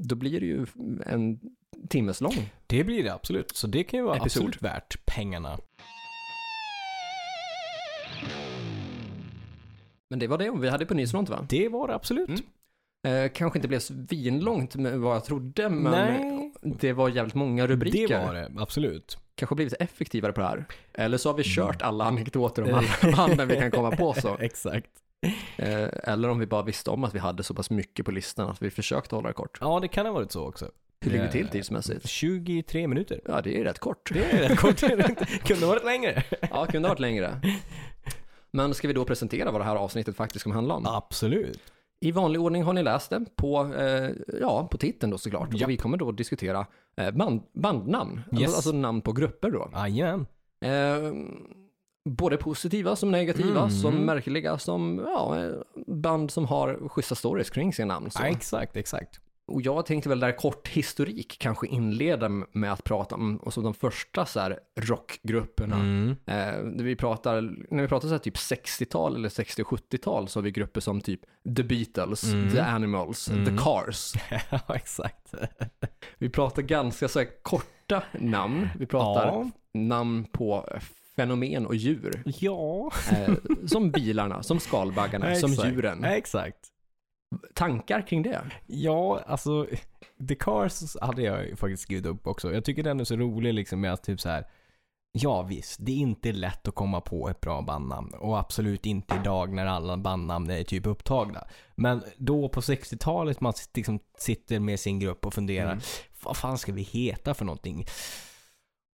[SPEAKER 2] då blir det ju en timmes lång.
[SPEAKER 1] Det blir det absolut. Så det kan ju vara
[SPEAKER 2] Episod.
[SPEAKER 1] absolut värt pengarna.
[SPEAKER 2] Men det var det vi hade på nyhetsfront va?
[SPEAKER 1] Det var det absolut.
[SPEAKER 2] Mm. Eh, kanske inte blev vinlångt med vad jag trodde, men
[SPEAKER 1] Nej,
[SPEAKER 2] det var jävligt många rubriker.
[SPEAKER 1] det var det. Absolut.
[SPEAKER 2] Kanske blivit effektivare på det här. Eller så har vi
[SPEAKER 1] Mm.
[SPEAKER 2] kört alla anekdoter om alla banden vi kan komma på
[SPEAKER 1] *laughs*
[SPEAKER 2] så.
[SPEAKER 1] Exakt.
[SPEAKER 2] Eh, Eller om vi bara visste om att vi hade så pass mycket på listan att vi försökte hålla det kort.
[SPEAKER 1] Ja, det kan ha varit så också.
[SPEAKER 2] Hur ligger
[SPEAKER 1] Eh,
[SPEAKER 2] det till typ? tidsmässigt?
[SPEAKER 1] 23 minuter.
[SPEAKER 2] Ja, det är rätt kort.
[SPEAKER 1] Det är rätt kort. Kunde varit längre.
[SPEAKER 2] *laughs* Ja, kunde ha varit längre. Men ska vi då presentera vad det här avsnittet faktiskt kommer handla om?
[SPEAKER 1] Absolut.
[SPEAKER 2] I vanlig ordning har ni läst det på, eh, ja, på titeln då såklart.
[SPEAKER 1] Japp.
[SPEAKER 2] Och vi kommer då diskutera eh, band, bandnamn,
[SPEAKER 1] Yes.
[SPEAKER 2] alltså, alltså namn på grupper då.
[SPEAKER 1] Jajamän.
[SPEAKER 2] Eh, både positiva som negativa,
[SPEAKER 1] Mm.
[SPEAKER 2] som märkliga, som ja, eh, band som har schyssta stories kring sina namn. Så.
[SPEAKER 1] Ja, exakt, exakt.
[SPEAKER 2] Och jag tänkte väl där kort historik kanske inleda med att prata om alltså de första så här rockgrupperna.
[SPEAKER 1] Mm.
[SPEAKER 2] Eh, när vi pratar, när vi pratar så här typ 60-tal eller 60 och 70-tal så har vi grupper som typ The Beatles,
[SPEAKER 1] Mm.
[SPEAKER 2] The Animals,
[SPEAKER 1] Mm.
[SPEAKER 2] The Cars.
[SPEAKER 1] *laughs* ja, exakt.
[SPEAKER 2] Vi pratar ganska så här korta namn. Vi pratar
[SPEAKER 1] Ja.
[SPEAKER 2] namn på fenomen och djur.
[SPEAKER 1] Ja.
[SPEAKER 2] Eh, som bilarna,
[SPEAKER 1] *laughs*
[SPEAKER 2] som skalbaggarna, som
[SPEAKER 1] Exakt.
[SPEAKER 2] djuren.
[SPEAKER 1] Exakt.
[SPEAKER 2] Tankar kring det?
[SPEAKER 1] Ja, alltså The Cars hade jag ju faktiskt skrivit upp också. Jag tycker den är så rolig liksom med att typ så här. Ja visst, det är inte lätt att komma på ett bra bandnamn och absolut inte idag när alla bandnamn är typ upptagna. Men då på 60-talet man sit- liksom sitter med sin grupp och funderar,
[SPEAKER 2] Mm.
[SPEAKER 1] vad fan ska vi heta för någonting?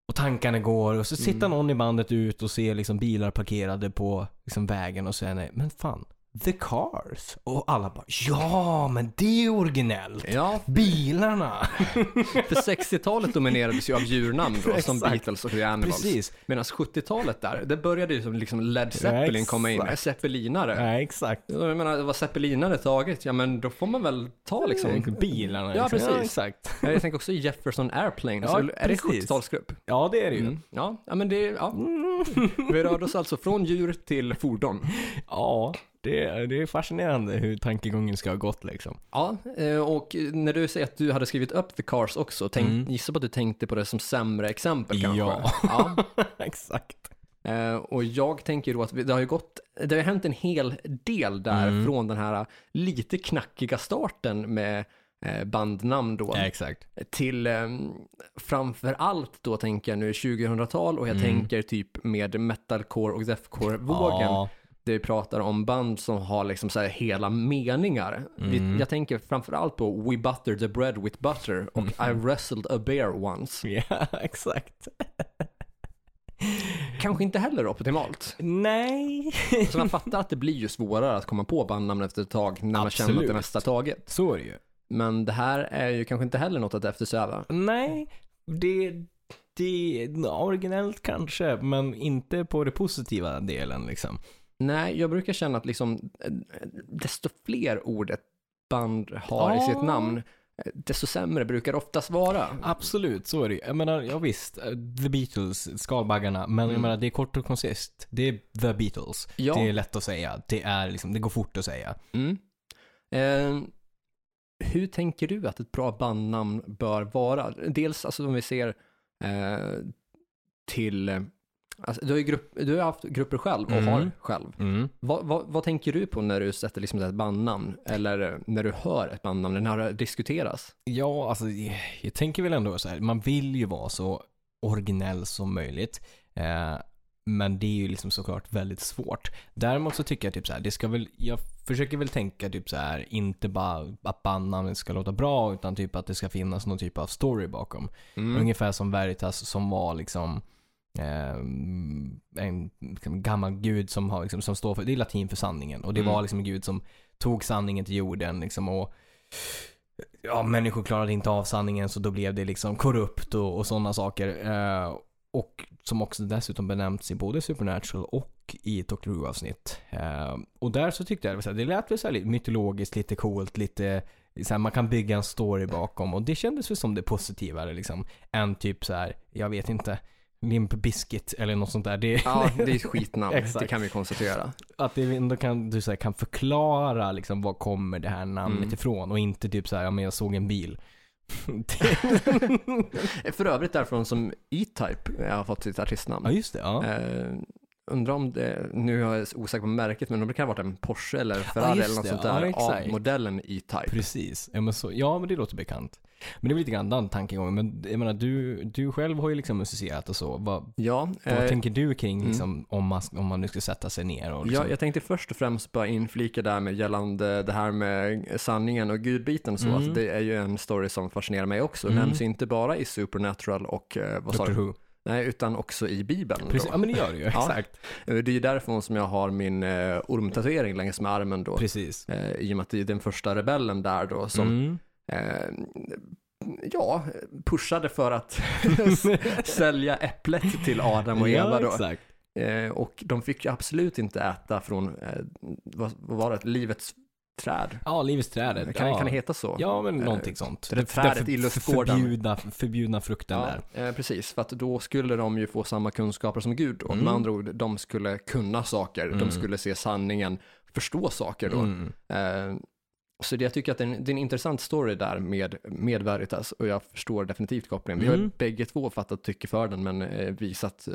[SPEAKER 1] Och tankarna går och så sitter någon i bandet ut och ser liksom bilar parkerade på liksom vägen och säger nej, men fan, The Cars. Och alla bara ja, men det är originellt.
[SPEAKER 2] Ja,
[SPEAKER 1] *laughs* Bilarna.
[SPEAKER 2] För 60-talet dominerades ju av djurnamn då, som
[SPEAKER 1] Exakt.
[SPEAKER 2] Beatles och The Animals.
[SPEAKER 1] Precis.
[SPEAKER 2] Medan 70-talet där, det började ju som liksom Led Zeppelin
[SPEAKER 1] Exakt.
[SPEAKER 2] komma in, äh, zeppelinare.
[SPEAKER 1] Nej, exakt.
[SPEAKER 2] Jag menar, var zeppelinare taget, ja men då får man väl
[SPEAKER 1] Mm. *laughs*
[SPEAKER 2] ta liksom.
[SPEAKER 1] Bilarna.
[SPEAKER 2] Ja,
[SPEAKER 1] liksom.
[SPEAKER 2] precis.
[SPEAKER 1] exakt.
[SPEAKER 2] Jag tänker också Jefferson Airplane,
[SPEAKER 1] Ja,
[SPEAKER 2] så är det
[SPEAKER 1] precis.
[SPEAKER 2] 70-talsgrupp?
[SPEAKER 1] Ja, Mm. det är det ju.
[SPEAKER 2] Mm. Ja, ja, men det, ja. *laughs* Vi rörde oss alltså från djur till fordon.
[SPEAKER 1] Ja, det, det är fascinerande hur tankegången ska ha gått liksom. *laughs*
[SPEAKER 2] Ja, eh, och när du säger att du hade skrivit upp The Cars också, tänk,
[SPEAKER 1] Mm.
[SPEAKER 2] gissa på att du tänkte på det som sämre exempel kanske?
[SPEAKER 1] Ja.
[SPEAKER 2] ja.
[SPEAKER 1] exakt.
[SPEAKER 2] Eh, och jag tänker då att vi, det har ju gått, det har
[SPEAKER 1] Mm.
[SPEAKER 2] hänt en hel del där från den här lite knackiga eh, starten med eh, bandnamn då.
[SPEAKER 1] Ja, exakt.
[SPEAKER 2] Till eh, framför allt då tänker jag nu 2000-tal och jag
[SPEAKER 1] Mm.
[SPEAKER 2] tänker typ med metalcore och deathcore-vågen.
[SPEAKER 1] Ja,
[SPEAKER 2] Där vi pratar om band som har liksom så här hela meningar.
[SPEAKER 1] Mm.
[SPEAKER 2] Vi, jag tänker framför allt på We Butter the Bread with Butter och
[SPEAKER 1] Mm.
[SPEAKER 2] I Wrestled a Bear Once.
[SPEAKER 1] *laughs* ja exakt.
[SPEAKER 2] Kanske inte heller optimalt.
[SPEAKER 1] Nej.
[SPEAKER 2] Så Alltså, man fattar att det blir ju svårare att komma på bandnamn efter ett tag när man känner att
[SPEAKER 1] Absolut.
[SPEAKER 2] det mesta är taget.
[SPEAKER 1] Så är det ju.
[SPEAKER 2] Men det här är ju kanske inte heller något att eftersträva.
[SPEAKER 1] Nej, det, det originellt kanske, men inte på det positiva delen liksom.
[SPEAKER 2] Nej, jag brukar känna att liksom, eh, desto fler ord ett band har i sitt
[SPEAKER 1] Ja.
[SPEAKER 2] namn, eh, desto sämre brukar det oftast vara.
[SPEAKER 1] Absolut, så är det ju. Jag menar, ja visst, eh, The Beatles, skalbaggarna, men jag
[SPEAKER 2] Mm.
[SPEAKER 1] menar det är kort och koncist. Det är The Beatles.
[SPEAKER 2] Ja.
[SPEAKER 1] Det är lätt att säga. Det är liksom, det går fort att säga.
[SPEAKER 2] Mm. Eh, hur tänker du att ett bra bandnamn bör vara? Dels alltså om vi ser eh, till, eh, alltså, du, har ju grupp, du har ju haft grupper själv och
[SPEAKER 1] Mm.
[SPEAKER 2] har själv. Vad, vad, vad tänker du på när du sätter liksom ett bandnamn eller när du hör ett bandnamn, när det diskuteras?
[SPEAKER 1] Ja, alltså jag- jag tänker väl ändå så här, man vill ju vara så originell som möjligt. Eh, men det är ju liksom såklart väldigt svårt. Däremot så tycker jag typ så här, det ska väl, jag försöker väl tänka typ så här, inte bara att bandnamnet ska låta bra utan typ att det ska finnas någon typ av story bakom.
[SPEAKER 2] Mm.
[SPEAKER 1] Ungefär som Veritas som var liksom eh, en liksom, gammal gud som, har, liksom, som står för, det är latin för sanningen. Och det
[SPEAKER 2] Mm.
[SPEAKER 1] var liksom en gud som tog sanningen till jorden liksom och ja, människor klarade inte av sanningen så då blev det liksom korrupt och, och sådana saker. Eh, och som också dessutom benämnts i både Supernatural och i Doctor avsnitt eh, Och där så tyckte jag det, var så här, det lät väl så här lite mytologiskt, lite coolt, lite så här, man kan bygga en story bakom och det kändes väl som det positivare liksom. Än typ så här, jag vet inte, Limp Bizkit eller något sånt där. Det,
[SPEAKER 2] Ja, det är ett *laughs* skitnamn, det
[SPEAKER 1] Exakt.
[SPEAKER 2] kan vi konstatera.
[SPEAKER 1] *laughs* att det ändå kan, du så här, kan förklara liksom, var kommer det här namnet
[SPEAKER 2] Mm.
[SPEAKER 1] ifrån och inte typ så här, ja men jag såg en bil. *laughs*
[SPEAKER 2] För övrigt därifrån som E-Type har fått sitt artistnamn.
[SPEAKER 1] ja just det, ja.
[SPEAKER 2] Eh, undrar om det, nu är jag osäker på märket, men om det kan ha varit en Porsche eller Ferrari
[SPEAKER 1] just
[SPEAKER 2] eller något
[SPEAKER 1] det.
[SPEAKER 2] sånt
[SPEAKER 1] Ja,
[SPEAKER 2] där
[SPEAKER 1] exakt.
[SPEAKER 2] av modellen E-Type.
[SPEAKER 1] Precis. Ja men, så, ja men det låter bekant. Men det är väl lite grann den tankegången. Men jag menar du, du själv har ju liksom musicerat och så. Vad,
[SPEAKER 2] Ja,
[SPEAKER 1] vad
[SPEAKER 2] eh,
[SPEAKER 1] tänker du kring liksom, om, man, om man nu ska sätta sig ner och liksom,
[SPEAKER 2] ja, jag tänkte först och främst bara inflika där med gällande det här med sanningen och gudbiten och så,
[SPEAKER 1] Mm.
[SPEAKER 2] att det är ju en story som fascinerar mig också.
[SPEAKER 1] Mm.
[SPEAKER 2] Nämns ju inte bara i Supernatural och, eh, vad sa
[SPEAKER 1] Doctor
[SPEAKER 2] du?
[SPEAKER 1] Who?
[SPEAKER 2] Nej, utan också i Bibeln. då.
[SPEAKER 1] Precis. *laughs* Ja men det gör du ju.
[SPEAKER 2] Ja.
[SPEAKER 1] Exakt.
[SPEAKER 2] Eh, Det är ju därifrån som jag har min eh, ormtatuering längs med armen då.
[SPEAKER 1] Precis.
[SPEAKER 2] Eh, I och med att det är den första rebellen där då som
[SPEAKER 1] Mm.
[SPEAKER 2] eh, ja, pushade för att *laughs*
[SPEAKER 1] *laughs*
[SPEAKER 2] sälja äpplet till Adam och Eva
[SPEAKER 1] ja
[SPEAKER 2] då.
[SPEAKER 1] exakt.
[SPEAKER 2] Eh, och de fick ju absolut inte äta från, eh, vad, vad var det, livets träd?
[SPEAKER 1] Ja, Livets trädet.
[SPEAKER 2] Kan,
[SPEAKER 1] ja.
[SPEAKER 2] kan det heta så? Eh,
[SPEAKER 1] Ja men någonting sånt.
[SPEAKER 2] det trädet i lustgården.
[SPEAKER 1] förbjudna, förbjudna frukten där.
[SPEAKER 2] Ja, eh, precis, för att då skulle de ju få samma kunskaper som Gud. Och med
[SPEAKER 1] Mm.
[SPEAKER 2] andra ord, de skulle kunna saker, de
[SPEAKER 1] Mm.
[SPEAKER 2] skulle se sanningen, förstå saker då.
[SPEAKER 1] Mm.
[SPEAKER 2] Eh, så det, jag tycker att det är, en, det är en intressant story där med, med Veritas och jag förstår definitivt kopplingen. Vi har ju
[SPEAKER 1] Mm.
[SPEAKER 2] bägge två fattat tycke för den men eh, visat eh,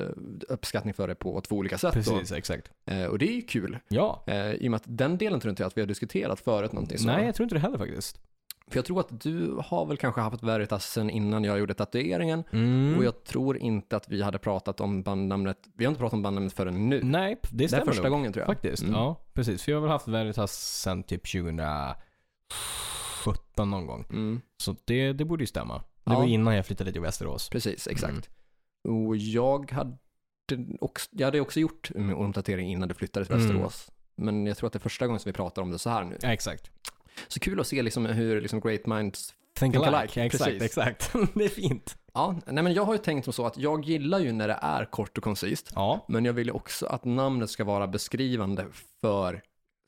[SPEAKER 2] uppskattning för det på två olika sätt. då.
[SPEAKER 1] Precis, exakt.
[SPEAKER 2] Eh, och det är ju kul,
[SPEAKER 1] Ja.
[SPEAKER 2] eh, i och med att den delen tror inte jag att vi har diskuterat förut någonting så.
[SPEAKER 1] Nej, jag tror inte det heller faktiskt.
[SPEAKER 2] För jag tror att du har väl kanske haft Veritas sen innan jag gjorde tatueringen
[SPEAKER 1] Mm.
[SPEAKER 2] och jag tror inte att vi hade pratat om bandnamnet, vi har inte pratat om bandnamnet förrän nu.
[SPEAKER 1] Nej, Mm, det
[SPEAKER 2] det är
[SPEAKER 1] stämmer
[SPEAKER 2] första
[SPEAKER 1] nog.
[SPEAKER 2] gången tror jag.
[SPEAKER 1] Faktiskt,
[SPEAKER 2] Mm.
[SPEAKER 1] ja. Precis. För jag har väl haft Veritas sen typ 2017 någon gång.
[SPEAKER 2] Mm.
[SPEAKER 1] Så det, det borde ju stämma. Det
[SPEAKER 2] Ja.
[SPEAKER 1] var innan jag flyttade till Västerås.
[SPEAKER 2] Precis, exakt.
[SPEAKER 1] Mm.
[SPEAKER 2] Och jag hade, också, jag hade också gjort min ormtatuering innan du flyttade till
[SPEAKER 1] Mm.
[SPEAKER 2] Västerås. Men jag tror att det är första gången som vi pratar om det så här nu.
[SPEAKER 1] Ja, exakt.
[SPEAKER 2] Så kul att se liksom hur liksom great minds...
[SPEAKER 1] Think,
[SPEAKER 2] Think
[SPEAKER 1] alike.
[SPEAKER 2] alike,
[SPEAKER 1] Ja, Exakt,
[SPEAKER 2] precis. *laughs*
[SPEAKER 1] exakt. det är fint.
[SPEAKER 2] Ja, nej men jag har ju tänkt som så att jag gillar ju när det är kort och koncist.
[SPEAKER 1] Ja,
[SPEAKER 2] Men jag vill ju också att namnet ska vara beskrivande för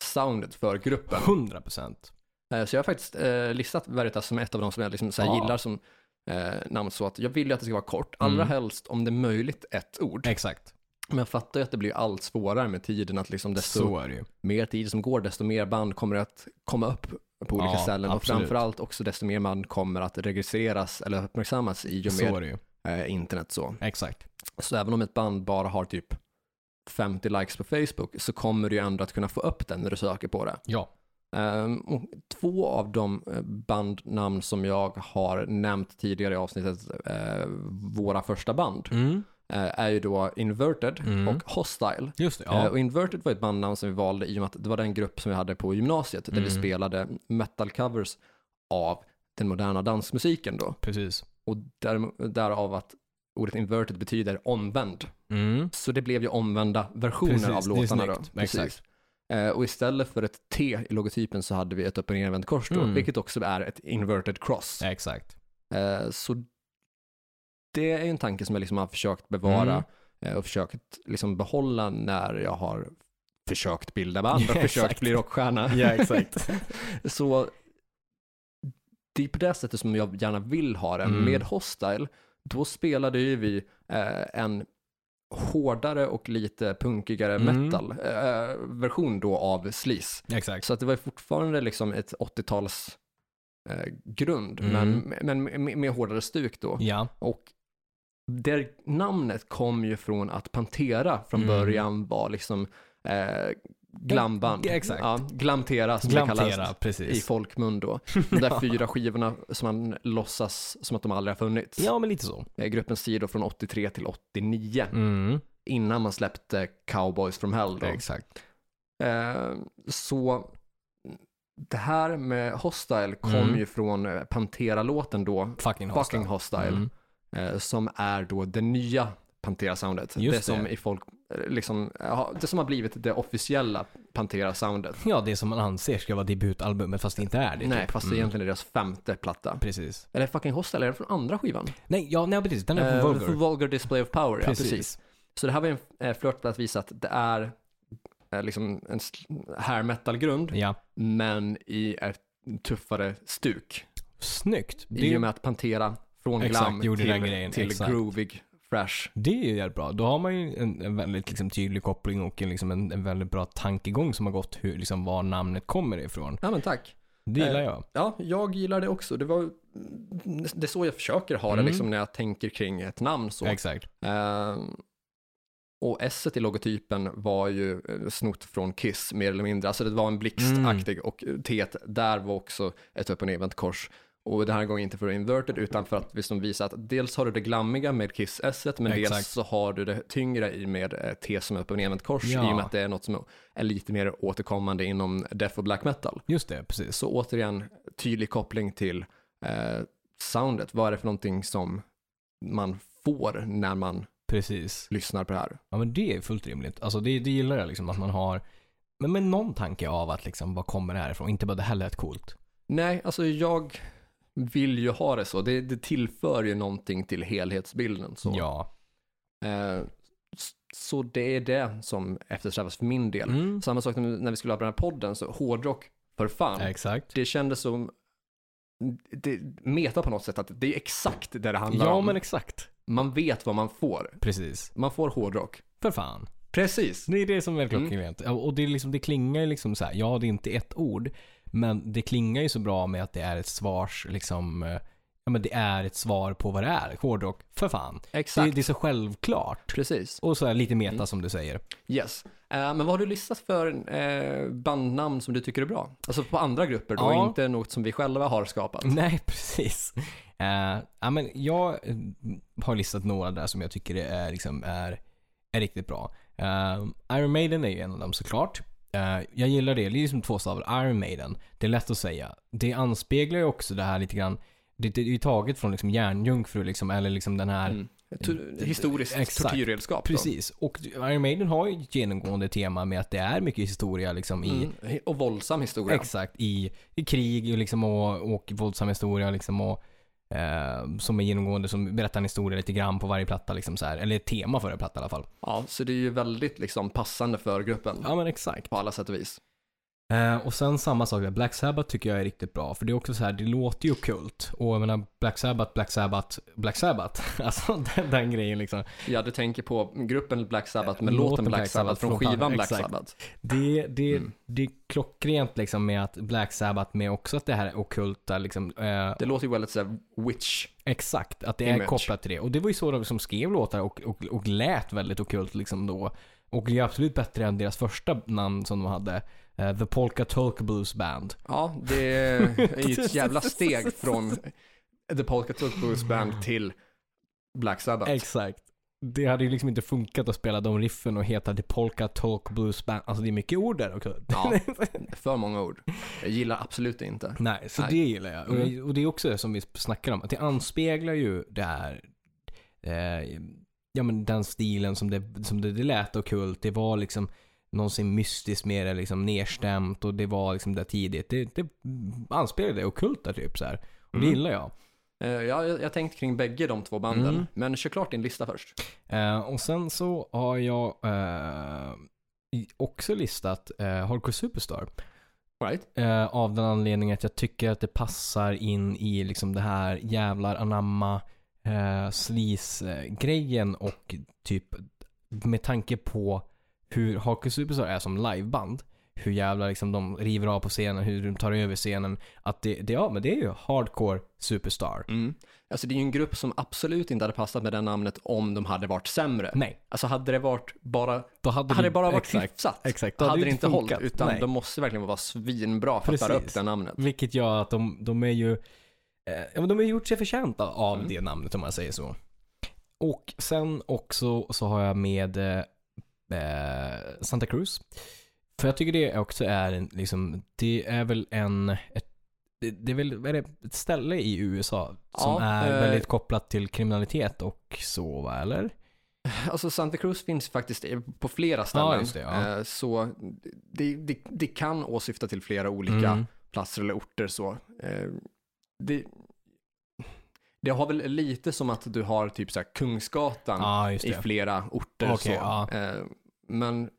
[SPEAKER 2] soundet, för gruppen.
[SPEAKER 1] 100 procent.
[SPEAKER 2] Eh, Så jag har faktiskt eh, listat Veritas som ett av de som jag liksom så här
[SPEAKER 1] Ja. Mm.
[SPEAKER 2] gillar som eh, namn. Så att jag vill ju att det ska vara kort, allra helst om det är möjligt ett ord.
[SPEAKER 1] Exakt.
[SPEAKER 2] Men jag fattar ju att det blir allt svårare med tiden, att liksom desto
[SPEAKER 1] Så är det ju.
[SPEAKER 2] mer tid som går, desto mer band kommer att komma upp på olika
[SPEAKER 1] Ja,
[SPEAKER 2] ställen och
[SPEAKER 1] absolut.
[SPEAKER 2] framförallt också desto mer man kommer att registreras eller uppmärksammas i och
[SPEAKER 1] Så är
[SPEAKER 2] med
[SPEAKER 1] det ju.
[SPEAKER 2] eh, internet så.
[SPEAKER 1] Exakt.
[SPEAKER 2] Så även om ett band bara har typ 50 likes på Facebook så kommer du ju ändå att kunna få upp den när du söker på det.
[SPEAKER 1] Ja.
[SPEAKER 2] Ehm, och två av de eh, bandnamn som jag har nämnt tidigare i avsnittet, eh, våra första band,
[SPEAKER 1] Mm.
[SPEAKER 2] eh, är ju då Inverted
[SPEAKER 1] Mm.
[SPEAKER 2] och Hostile.
[SPEAKER 1] Just det,
[SPEAKER 2] Eh,
[SPEAKER 1] ja.
[SPEAKER 2] och Inverted var ett bandnamn som vi valde i och med att det var den grupp som vi hade på gymnasiet, där vi
[SPEAKER 1] Mm.
[SPEAKER 2] spelade metal-covers av den moderna dansmusiken då.
[SPEAKER 1] Precis.
[SPEAKER 2] Och där, därav att ordet inverted betyder omvänd.
[SPEAKER 1] Mm.
[SPEAKER 2] Så det blev ju omvända versioner
[SPEAKER 1] Precis,
[SPEAKER 2] av
[SPEAKER 1] det är
[SPEAKER 2] låtarna då.
[SPEAKER 1] snyggt. Exakt.
[SPEAKER 2] Eh, och istället för ett T i logotypen så hade vi ett upp och nervänt kors då,
[SPEAKER 1] Mm.
[SPEAKER 2] vilket också är ett inverted cross.
[SPEAKER 1] Exakt.
[SPEAKER 2] Eh, så det är en tanke som jag liksom har försökt bevara
[SPEAKER 1] Mm.
[SPEAKER 2] eh, och försökt liksom behålla när jag har försökt bilda band
[SPEAKER 1] *laughs* Ja,
[SPEAKER 2] och försökt
[SPEAKER 1] exakt.
[SPEAKER 2] bli rockstjärna.
[SPEAKER 1] Ja, exakt.
[SPEAKER 2] Så det är på det sättet som jag gärna vill ha det.
[SPEAKER 1] Mm.
[SPEAKER 2] Med Hostile, då spelade ju vi eh, en hårdare och lite punkigare
[SPEAKER 1] Mm.
[SPEAKER 2] metal eh, version då av Sleaze.
[SPEAKER 1] *laughs* Exakt.
[SPEAKER 2] Så att det var ju fortfarande liksom ett 80-tals eh, grund,
[SPEAKER 1] Mm.
[SPEAKER 2] men, men med, med hårdare stuk då.
[SPEAKER 1] Ja.
[SPEAKER 2] Och det namnet kom ju från att Pantera från
[SPEAKER 1] Mm.
[SPEAKER 2] början var liksom eh, glamband.
[SPEAKER 1] Ja, exakt.
[SPEAKER 2] Ja, glamtera som det
[SPEAKER 1] Glantera,
[SPEAKER 2] kallas i
[SPEAKER 1] precis.
[SPEAKER 2] folkmun då. De
[SPEAKER 1] *laughs*
[SPEAKER 2] där fyra skivorna som man låtsas som att de aldrig har funnits.
[SPEAKER 1] Ja, men lite så.
[SPEAKER 2] Eh, Gruppens sidor från 83 till 89
[SPEAKER 1] Mm.
[SPEAKER 2] innan man släppte Cowboys from Hell då.
[SPEAKER 1] Exakt.
[SPEAKER 2] Eh, så det här med Hostile kom
[SPEAKER 1] Mm.
[SPEAKER 2] ju från eh, Pantera-låten då,
[SPEAKER 1] Fucking hostile.
[SPEAKER 2] Fucking Hostile,
[SPEAKER 1] Mm.
[SPEAKER 2] eh, som är då det nya Pantera-soundet.
[SPEAKER 1] Just
[SPEAKER 2] det som
[SPEAKER 1] det.
[SPEAKER 2] i folk, eh, liksom, ja, det som har blivit det officiella Pantera-soundet.
[SPEAKER 1] Ja, det som man anser ska vara debutalbumet fast det inte är det.
[SPEAKER 2] Nej,
[SPEAKER 1] typ.
[SPEAKER 2] fast det
[SPEAKER 1] Mm.
[SPEAKER 2] egentligen är deras femte platta.
[SPEAKER 1] Precis.
[SPEAKER 2] Eller fucking Hostile, är den från andra skivan?
[SPEAKER 1] Nej, ja, nej precis. Den är
[SPEAKER 2] Eh,
[SPEAKER 1] från Vulgar.
[SPEAKER 2] vulgar Display of Power, ja precis. Så det här var ju en eh, flört för att visa att det är eh, liksom en sl- hair metal-grund,
[SPEAKER 1] Ja.
[SPEAKER 2] men i ett tuffare stuk.
[SPEAKER 1] Snyggt.
[SPEAKER 2] I
[SPEAKER 1] Det,
[SPEAKER 2] och med att Pantera från
[SPEAKER 1] Exakt,
[SPEAKER 2] glam
[SPEAKER 1] gjorde den
[SPEAKER 2] till,
[SPEAKER 1] grejen,
[SPEAKER 2] till
[SPEAKER 1] exakt.
[SPEAKER 2] groovig, fresh.
[SPEAKER 1] det är ju jävligt bra. Då har man ju en, en väldigt liksom, tydlig koppling och en, liksom, en, en väldigt bra tankegång som har gått hur, liksom, var namnet kommer ifrån.
[SPEAKER 2] Ja men tack.
[SPEAKER 1] Det gillar
[SPEAKER 2] Eh,
[SPEAKER 1] jag.
[SPEAKER 2] Ja, jag gillar det också. Det, var, det är så jag försöker ha det
[SPEAKER 1] Mm.
[SPEAKER 2] liksom när jag tänker kring ett namn. Så.
[SPEAKER 1] Exakt.
[SPEAKER 2] Ehm, och S i logotypen var ju eh, snott från Kiss mer eller mindre. Alltså det var en blixtaktig
[SPEAKER 1] Mm.
[SPEAKER 2] och T där var också ett upp och nervänt kors. Och den här gången inte för inverted utan för att liksom visa att dels har du det glammiga med kiss s men dels
[SPEAKER 1] Exakt.
[SPEAKER 2] så har du det tyngre i med eh, T som är upp och nervänt kors
[SPEAKER 1] Ja.
[SPEAKER 2] i och med att det är något som är lite mer återkommande inom death och black metal.
[SPEAKER 1] Just det, precis.
[SPEAKER 2] Så återigen, tydlig koppling till eh, soundet. Vad är det för någonting som man får när man
[SPEAKER 1] Precis.
[SPEAKER 2] lyssnar på det här?
[SPEAKER 1] Ja men det är fullt rimligt. Alltså det, det gillar jag liksom att man har, men med någon tanke av att liksom, vad kommer det här ifrån? Inte bara det här lät coolt.
[SPEAKER 2] Nej, alltså jag vill ju ha det så. Det, det tillför ju någonting till helhetsbilden. Så.
[SPEAKER 1] Ja.
[SPEAKER 2] Eh, s- så det är det som eftersträvas för min del.
[SPEAKER 1] Mm.
[SPEAKER 2] Samma sak när när vi skulle ha den här podden, så hårdrock för fan.
[SPEAKER 1] Exakt.
[SPEAKER 2] Det kändes som det meta på något sätt att det är exakt det det handlar
[SPEAKER 1] Ja
[SPEAKER 2] om.
[SPEAKER 1] men exakt.
[SPEAKER 2] Man vet vad man får.
[SPEAKER 1] Precis.
[SPEAKER 2] Man får hårdrock.
[SPEAKER 1] För fan.
[SPEAKER 2] Precis.
[SPEAKER 1] Det är det som är klockrent. Ja, Och det, är liksom, det klingar ju liksom så här, ja det är inte ett ord, men det klingar ju så bra med att det är ett svars, liksom, eh, ja men det är ett svar på vad det är. Hårdrock, för fan. Det,
[SPEAKER 2] Exakt.
[SPEAKER 1] det är så självklart.
[SPEAKER 2] Precis.
[SPEAKER 1] Och så här lite meta som du säger.
[SPEAKER 2] Yes. Eh, men vad har du listat för eh, bandnamn som du tycker är bra? Alltså på andra grupper då,
[SPEAKER 1] Ja. Mm.
[SPEAKER 2] inte något som vi själva har
[SPEAKER 1] *laughs*
[SPEAKER 2] skapat.
[SPEAKER 1] Nej, precis. Eh, ja, men jag eh, har listat några där som jag tycker är, liksom, är, är riktigt bra. Eh, Iron Maiden är ju en av dem såklart. Eh, jag gillar det. Det är ju som två stavar. Iron Maiden. Det är lätt att säga. Det anspeglar ju också det här lite grann. Det, det är ju taget från liksom järnjungfru liksom, eller liksom den här
[SPEAKER 2] Mm. To- Historiskt
[SPEAKER 1] Exakt.
[SPEAKER 2] tortyrredskap då.
[SPEAKER 1] Precis, och Iron Maiden har ju ett genomgående tema med att det är mycket historia liksom i
[SPEAKER 2] Mm. Och våldsam historia.
[SPEAKER 1] Exakt, i, i krig och, liksom och, och våldsam historia liksom och, eh, som är genomgående, som berättar en historia lite grann på varje platta. Liksom så här, eller ett tema för varje platta i alla fall.
[SPEAKER 2] ja, så det är ju väldigt liksom passande för gruppen
[SPEAKER 1] Ja men exakt.
[SPEAKER 2] på alla sätt och vis.
[SPEAKER 1] Eh, och sen samma sak med Black Sabbath tycker jag är riktigt bra. För det är också så här, det låter ju kult. Och jag menar Black Sabbath, Black Sabbath, Black Sabbath. *laughs* Alltså den, den grejen liksom.
[SPEAKER 2] Ja, du tänker på gruppen Black Sabbath med
[SPEAKER 1] Eh,
[SPEAKER 2] låten Black Sabbath från skivan Black
[SPEAKER 1] Exakt.
[SPEAKER 2] Sabbath.
[SPEAKER 1] Det, det,
[SPEAKER 2] Mm.
[SPEAKER 1] det är klockrent liksom med att Black Sabbath med också att det här är ockulta liksom. Eh,
[SPEAKER 2] Det låter ju väldigt såhär witch.
[SPEAKER 1] Exakt, att det är
[SPEAKER 2] Image.
[SPEAKER 1] kopplat till det. Och det var ju så de som skrev låtar och, och, och lät väldigt ockult liksom då. Och det är absolut bättre än deras första namn som de hade. eh, The Polka Tulk Blues Band.
[SPEAKER 2] Ja, det är ju
[SPEAKER 1] *laughs*
[SPEAKER 2] ett jävla steg från The Polka Talk Blues Band till Black Sabbath.
[SPEAKER 1] Exakt. Det hade ju liksom inte funkat att spela de riffen och heta The Polka Talk Blues Band. Alltså det är mycket ord där också. *laughs*
[SPEAKER 2] Ja, för många ord. Jag gillar absolut inte.
[SPEAKER 1] Nej, så
[SPEAKER 2] Nej.
[SPEAKER 1] det gillar jag. Och,
[SPEAKER 2] Mm.
[SPEAKER 1] jag. och det är också det som vi snackar om. Att det anspeglar ju det här, eh, ja men den stilen som det, som det, det lät ockult. Det var liksom någonsin mystiskt mer eller liksom nedstämt och det var liksom där tidigt. Det, det anspeglar det ockulta typ så här. Och
[SPEAKER 2] Mm.
[SPEAKER 1] det gillar jag.
[SPEAKER 2] Eh, Jag, jag har tänkt kring bägge de två banden,
[SPEAKER 1] Mm.
[SPEAKER 2] men kör klart din lista först.
[SPEAKER 1] Eh, och sen så har jag eh, i- också listat eh, Hardcore Superstar.
[SPEAKER 2] All Right?
[SPEAKER 1] Eh, av den anledningen att jag tycker att det passar in i liksom det här jävlar anamma eh, sleaze-grejen och typ med tanke på hur Hake Superstar är som liveband. Hur jävlar liksom de river av på scenen, hur de tar över scenen. Att det, det, ja, men det är ju hardcore superstar.
[SPEAKER 2] Mm. Alltså det är ju en grupp som absolut inte hade passat med det namnet om de hade varit sämre.
[SPEAKER 1] Nej,
[SPEAKER 2] Alltså hade det varit bara,
[SPEAKER 1] då hade,
[SPEAKER 2] hade
[SPEAKER 1] vi-
[SPEAKER 2] det bara varit
[SPEAKER 1] exakt,
[SPEAKER 2] hyfsat,
[SPEAKER 1] exakt,
[SPEAKER 2] då hade det
[SPEAKER 1] ju
[SPEAKER 2] inte
[SPEAKER 1] funkat.
[SPEAKER 2] hållit. Utan
[SPEAKER 1] Nej.
[SPEAKER 2] de måste verkligen vara svinbra för att bära
[SPEAKER 1] Precis. Mm.
[SPEAKER 2] upp det namnet.
[SPEAKER 1] Vilket gör att de, de är ju, eh, ja, men de har gjort sig förtjänta av
[SPEAKER 2] Mm.
[SPEAKER 1] det namnet om man säger så. Och sen också så har jag med eh, eh, Santa Cruz. För jag tycker det också är en, liksom, det är väl en, ett, det, det är väl vad är det, ett ställe i USA som
[SPEAKER 2] Ja,
[SPEAKER 1] är
[SPEAKER 2] eh,
[SPEAKER 1] väldigt kopplat till kriminalitet och så va, eller?
[SPEAKER 2] Alltså Santa Cruz finns faktiskt på flera ställen.
[SPEAKER 1] Ja, just det, ja.
[SPEAKER 2] Eh, Så det, det, det kan åsyfta till flera olika
[SPEAKER 1] Mm.
[SPEAKER 2] platser eller orter så. Eh, Det, det har väl lite som att du har typ så här Kungsgatan
[SPEAKER 1] Ja, just
[SPEAKER 2] i
[SPEAKER 1] det.
[SPEAKER 2] flera orter så.
[SPEAKER 1] Okej, ja.
[SPEAKER 2] Eh, Men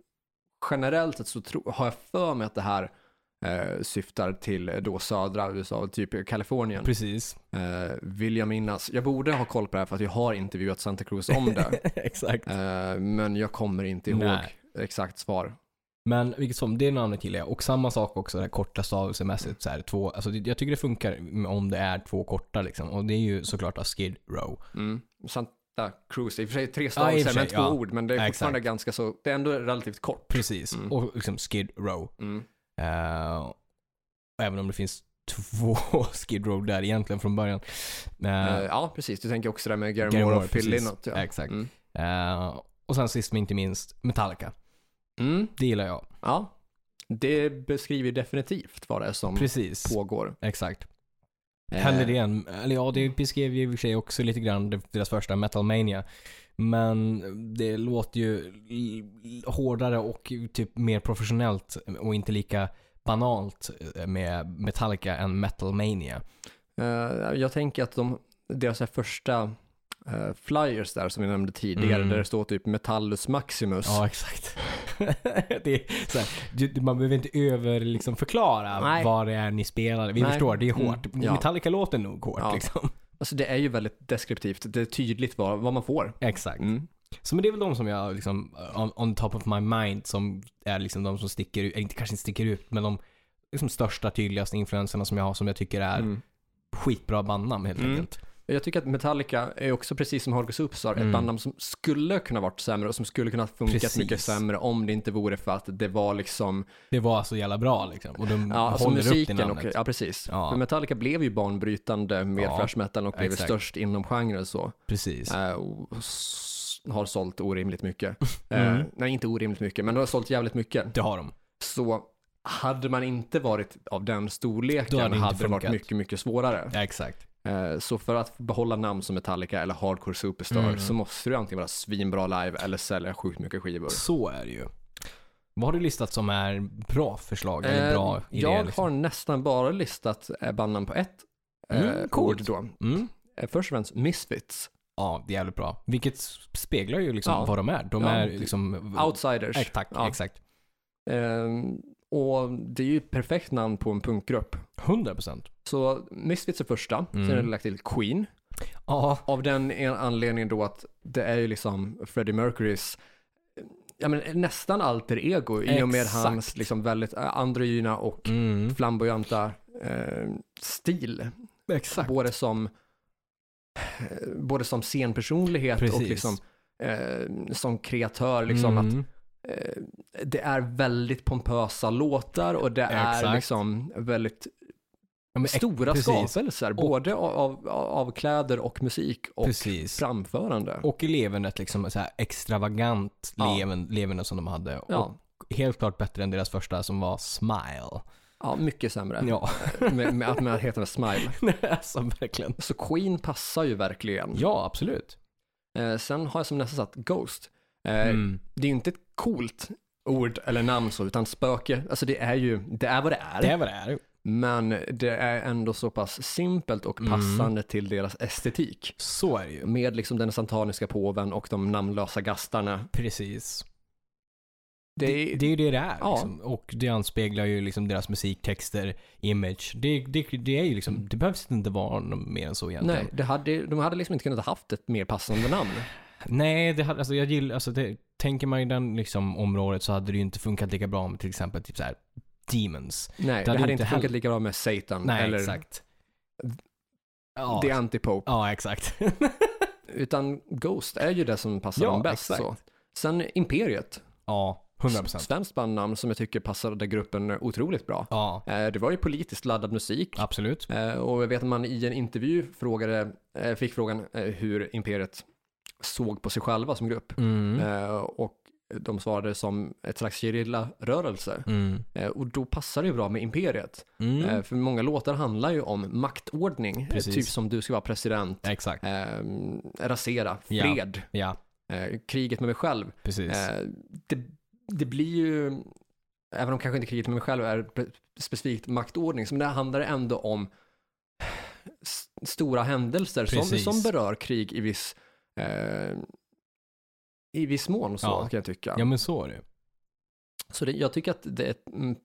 [SPEAKER 2] generellt sett så tro, har jag för mig att det här eh, syftar till då södra USA, typ Kalifornien.
[SPEAKER 1] Precis.
[SPEAKER 2] Eh, vill jag minnas. Jag borde ha koll på det här för att jag har intervjuat Santa Cruz om det.
[SPEAKER 1] *laughs* Exakt.
[SPEAKER 2] Eh, men jag kommer inte ihåg
[SPEAKER 1] Nej.
[SPEAKER 2] exakt svar.
[SPEAKER 1] Men vilket som, det namnet gillar jag. Och samma sak också, det här korta stavelsemässigt. Så här, två, alltså, det- jag tycker det funkar om det är två korta liksom. Och det är ju såklart av Skid Row.
[SPEAKER 2] Mm. Santa Cruz, i och för sig tre
[SPEAKER 1] Ja, i och
[SPEAKER 2] stavelser
[SPEAKER 1] för sig,
[SPEAKER 2] men två
[SPEAKER 1] ja.
[SPEAKER 2] ord, men det är
[SPEAKER 1] Ja,
[SPEAKER 2] fortfarande ganska så, det är ändå relativt kort.
[SPEAKER 1] Precis.
[SPEAKER 2] Mm.
[SPEAKER 1] Och liksom Skid Row.
[SPEAKER 2] Mm.
[SPEAKER 1] Eh, även om det finns två *laughs* Skid Row där egentligen från början. Eh,
[SPEAKER 2] Eh, ja, precis. Du tänker också det där med Gary
[SPEAKER 1] Gary
[SPEAKER 2] Moore
[SPEAKER 1] Moore,
[SPEAKER 2] och Phil
[SPEAKER 1] precis.
[SPEAKER 2] Lynott. Ja.
[SPEAKER 1] Exakt.
[SPEAKER 2] Mm.
[SPEAKER 1] eh, och sen sist men inte minst, Metallica.
[SPEAKER 2] Mm.
[SPEAKER 1] Det gillar jag.
[SPEAKER 2] Ja, det beskriver definitivt vad det är som
[SPEAKER 1] Precis.
[SPEAKER 2] pågår.
[SPEAKER 1] Exakt.
[SPEAKER 2] Eh,
[SPEAKER 1] Hellre det än, eller ja det beskrev ju i och för sig också lite grann deras första Metal Mania. Men det låter ju l- hårdare och typ mer professionellt och inte lika banalt eh, med Metallica än Metal Mania.
[SPEAKER 2] eh, jag tänker att de, deras här första eh, flyers där som vi nämnde tidigare,
[SPEAKER 1] Mm.
[SPEAKER 2] där det står typ Metallus Maximus.
[SPEAKER 1] Ja, exakt. *laughs* det är så här, du- man behöver inte över liksom förklara
[SPEAKER 2] Nej.
[SPEAKER 1] vad det är ni spelar. Vi
[SPEAKER 2] Nej.
[SPEAKER 1] förstår, det är
[SPEAKER 2] Mm.
[SPEAKER 1] hårt.
[SPEAKER 2] Ja.
[SPEAKER 1] Metallica låter nog hårt
[SPEAKER 2] Ja. *laughs*
[SPEAKER 1] liksom.
[SPEAKER 2] Alltså det är ju väldigt deskriptivt, det är tydligt vad, vad man får.
[SPEAKER 1] Exakt.
[SPEAKER 2] Mm.
[SPEAKER 1] Så men det är väl de som jag liksom, uh, on, on top of my mind, som är liksom de som sticker ut, eller inte kanske inte sticker ut, men de liksom största, tydligaste influenserna som jag har, som jag tycker är
[SPEAKER 2] Mm.
[SPEAKER 1] skitbra bandnamn helt
[SPEAKER 2] Mm.
[SPEAKER 1] enkelt.
[SPEAKER 2] Jag tycker att Metallica är också precis som Hardcore Superstar,
[SPEAKER 1] Mm.
[SPEAKER 2] ett bandnamn som skulle kunna varit sämre och som skulle kunna funkat
[SPEAKER 1] Precis.
[SPEAKER 2] mycket sämre om det inte vore för att det var liksom,
[SPEAKER 1] Det var så jävla bra liksom, och de
[SPEAKER 2] ja, alltså
[SPEAKER 1] håller upp det
[SPEAKER 2] musiken och,
[SPEAKER 1] namnet.
[SPEAKER 2] ja precis.
[SPEAKER 1] Ja.
[SPEAKER 2] För Metallica blev ju banbrytande med
[SPEAKER 1] Ja,
[SPEAKER 2] thrash metal och blev
[SPEAKER 1] exakt.
[SPEAKER 2] störst inom genren så.
[SPEAKER 1] Precis.
[SPEAKER 2] Eh, och s- har sålt orimligt mycket.
[SPEAKER 1] *laughs* Mm.
[SPEAKER 2] Eh, nej, inte orimligt mycket, men de har sålt jävligt mycket.
[SPEAKER 1] Det har de.
[SPEAKER 2] Så hade man inte varit av den
[SPEAKER 1] Då
[SPEAKER 2] storleken
[SPEAKER 1] hade det
[SPEAKER 2] hade,
[SPEAKER 1] inte
[SPEAKER 2] det varit
[SPEAKER 1] funkat.
[SPEAKER 2] mycket, mycket svårare.
[SPEAKER 1] Ja, exakt.
[SPEAKER 2] Eh, Så för att behålla namn som Metallica eller Hardcore Superstar
[SPEAKER 1] Mm.
[SPEAKER 2] så måste du antingen vara svinbra live eller sälja sjukt mycket skivor.
[SPEAKER 1] Så är det ju. Vad har du listat som är bra förslag, eller
[SPEAKER 2] Eh,
[SPEAKER 1] bra idéer?
[SPEAKER 2] jag
[SPEAKER 1] liksom?
[SPEAKER 2] har nästan bara listat eh, bandnamn på ett
[SPEAKER 1] Mm,
[SPEAKER 2] eh,
[SPEAKER 1] coolt.
[SPEAKER 2] ord då.
[SPEAKER 1] Mm?
[SPEAKER 2] Eh, Först och främst Misfits,
[SPEAKER 1] Ja, det är jävligt bra. Vilket speglar ju liksom
[SPEAKER 2] Ja.
[SPEAKER 1] vad de är. De
[SPEAKER 2] Ja,
[SPEAKER 1] är
[SPEAKER 2] det-
[SPEAKER 1] liksom...
[SPEAKER 2] Outsiders.
[SPEAKER 1] Eh, Tack,
[SPEAKER 2] Ja.
[SPEAKER 1] exakt.
[SPEAKER 2] Eh, Och det är ju ett perfekt namn på en punkgrupp.
[SPEAKER 1] 100%.
[SPEAKER 2] Så Misfits är första,
[SPEAKER 1] Mm.
[SPEAKER 2] sen har jag lagt till Queen.
[SPEAKER 1] Ja,
[SPEAKER 2] Av den en- anledningen då att det är ju liksom Freddie Mercurys eh, ja, men nästan alter ego i och med
[SPEAKER 1] Exakt.
[SPEAKER 2] hans liksom väldigt eh, androgyna och
[SPEAKER 1] Mm.
[SPEAKER 2] flamboyanta eh, stil.
[SPEAKER 1] Exakt.
[SPEAKER 2] Både som, eh, både som scenpersonlighet och
[SPEAKER 1] Precis. Mm.
[SPEAKER 2] liksom, eh, som kreatör. Liksom att, eh, det är väldigt pompösa låtar och det är
[SPEAKER 1] Exakt.
[SPEAKER 2] liksom väldigt
[SPEAKER 1] Ja, men, ex-
[SPEAKER 2] stora
[SPEAKER 1] precis.
[SPEAKER 2] skapelser, både av, av, av kläder och musik och
[SPEAKER 1] precis.
[SPEAKER 2] framförande.
[SPEAKER 1] Och i levernet liksom så här extravagant
[SPEAKER 2] Ja.
[SPEAKER 1] leven, leverne som de hade.
[SPEAKER 2] ja,
[SPEAKER 1] Och helt klart bättre än deras första som var Smile.
[SPEAKER 2] ja, mycket sämre.
[SPEAKER 1] Ja,
[SPEAKER 2] *laughs* Med, med att man heter med Smile.
[SPEAKER 1] Nej, *laughs* alltså verkligen.
[SPEAKER 2] Så Queen passar ju verkligen.
[SPEAKER 1] Ja, absolut.
[SPEAKER 2] Eh, sen har jag som nästa satt Ghost. Eh,
[SPEAKER 1] Mm.
[SPEAKER 2] Det är ju inte ett coolt ord eller namn så, utan spöke, alltså det är ju, det är vad det är.
[SPEAKER 1] Det är vad det är.
[SPEAKER 2] Men det är ändå så pass simpelt
[SPEAKER 1] Mm.
[SPEAKER 2] och passande till deras estetik.
[SPEAKER 1] Så är det ju.
[SPEAKER 2] Med liksom den santaniska påven och de namnlösa gastarna.
[SPEAKER 1] Precis.
[SPEAKER 2] Det är,
[SPEAKER 1] Det är ju det det är.
[SPEAKER 2] Ja.
[SPEAKER 1] Liksom. Och det anspeglar ju liksom deras musiktexter, image. Det, det, det är ju liksom, det behövs inte vara någon mer än så egentligen.
[SPEAKER 2] nej, det hade, de hade liksom inte kunnat haft ett mer passande namn.
[SPEAKER 1] Nej, det hade, alltså jag gillar, alltså det, tänker man i den liksom området så hade det ju inte funkat lika bra med till exempel typ så här Demons.
[SPEAKER 2] Nej, det hade, inte funkat lika bra med Satan
[SPEAKER 1] Nej,
[SPEAKER 2] eller
[SPEAKER 1] exakt. Ja,
[SPEAKER 2] The Antipope.
[SPEAKER 1] ja exakt. *laughs*
[SPEAKER 2] Utan Ghost är ju det som passar
[SPEAKER 1] Ja,
[SPEAKER 2] dem bäst.
[SPEAKER 1] exakt.
[SPEAKER 2] Så. Sen Imperiet,
[SPEAKER 1] ja, 100%.
[SPEAKER 2] svenskt bandnamn som jag tycker passade gruppen otroligt bra.
[SPEAKER 1] Ja,
[SPEAKER 2] Eh, Det var ju politiskt laddad musik.
[SPEAKER 1] absolut.
[SPEAKER 2] Eh, Och jag vet att man i en intervju frågade, eh, fick frågan eh, hur Imperiet såg på sig själva som grupp.
[SPEAKER 1] Mm.
[SPEAKER 2] Eh, Och de svarade som ett slags gerilla-rörelse.
[SPEAKER 1] Mm.
[SPEAKER 2] Eh, Och då passar det ju bra med Imperiet.
[SPEAKER 1] Mm.
[SPEAKER 2] Eh, För många låtar handlar ju om maktordning. eh,
[SPEAKER 1] Precis.
[SPEAKER 2] Typ som du ska vara president,
[SPEAKER 1] Exakt.
[SPEAKER 2] eh, rasera,
[SPEAKER 1] Ja.
[SPEAKER 2] fred,
[SPEAKER 1] Ja,
[SPEAKER 2] eh, kriget med mig själv.
[SPEAKER 1] precis.
[SPEAKER 2] Eh, Det, det blir ju, även om kanske inte kriget med mig själv är pre- specifikt maktordning, så det handlar det ändå om s- stora händelser som,
[SPEAKER 1] Precis.
[SPEAKER 2] som berör krig i viss, eh, i viss mån, så
[SPEAKER 1] Ja.
[SPEAKER 2] kan jag tycka.
[SPEAKER 1] Ja men så är det.
[SPEAKER 2] Så det, jag tycker att det är ett mm,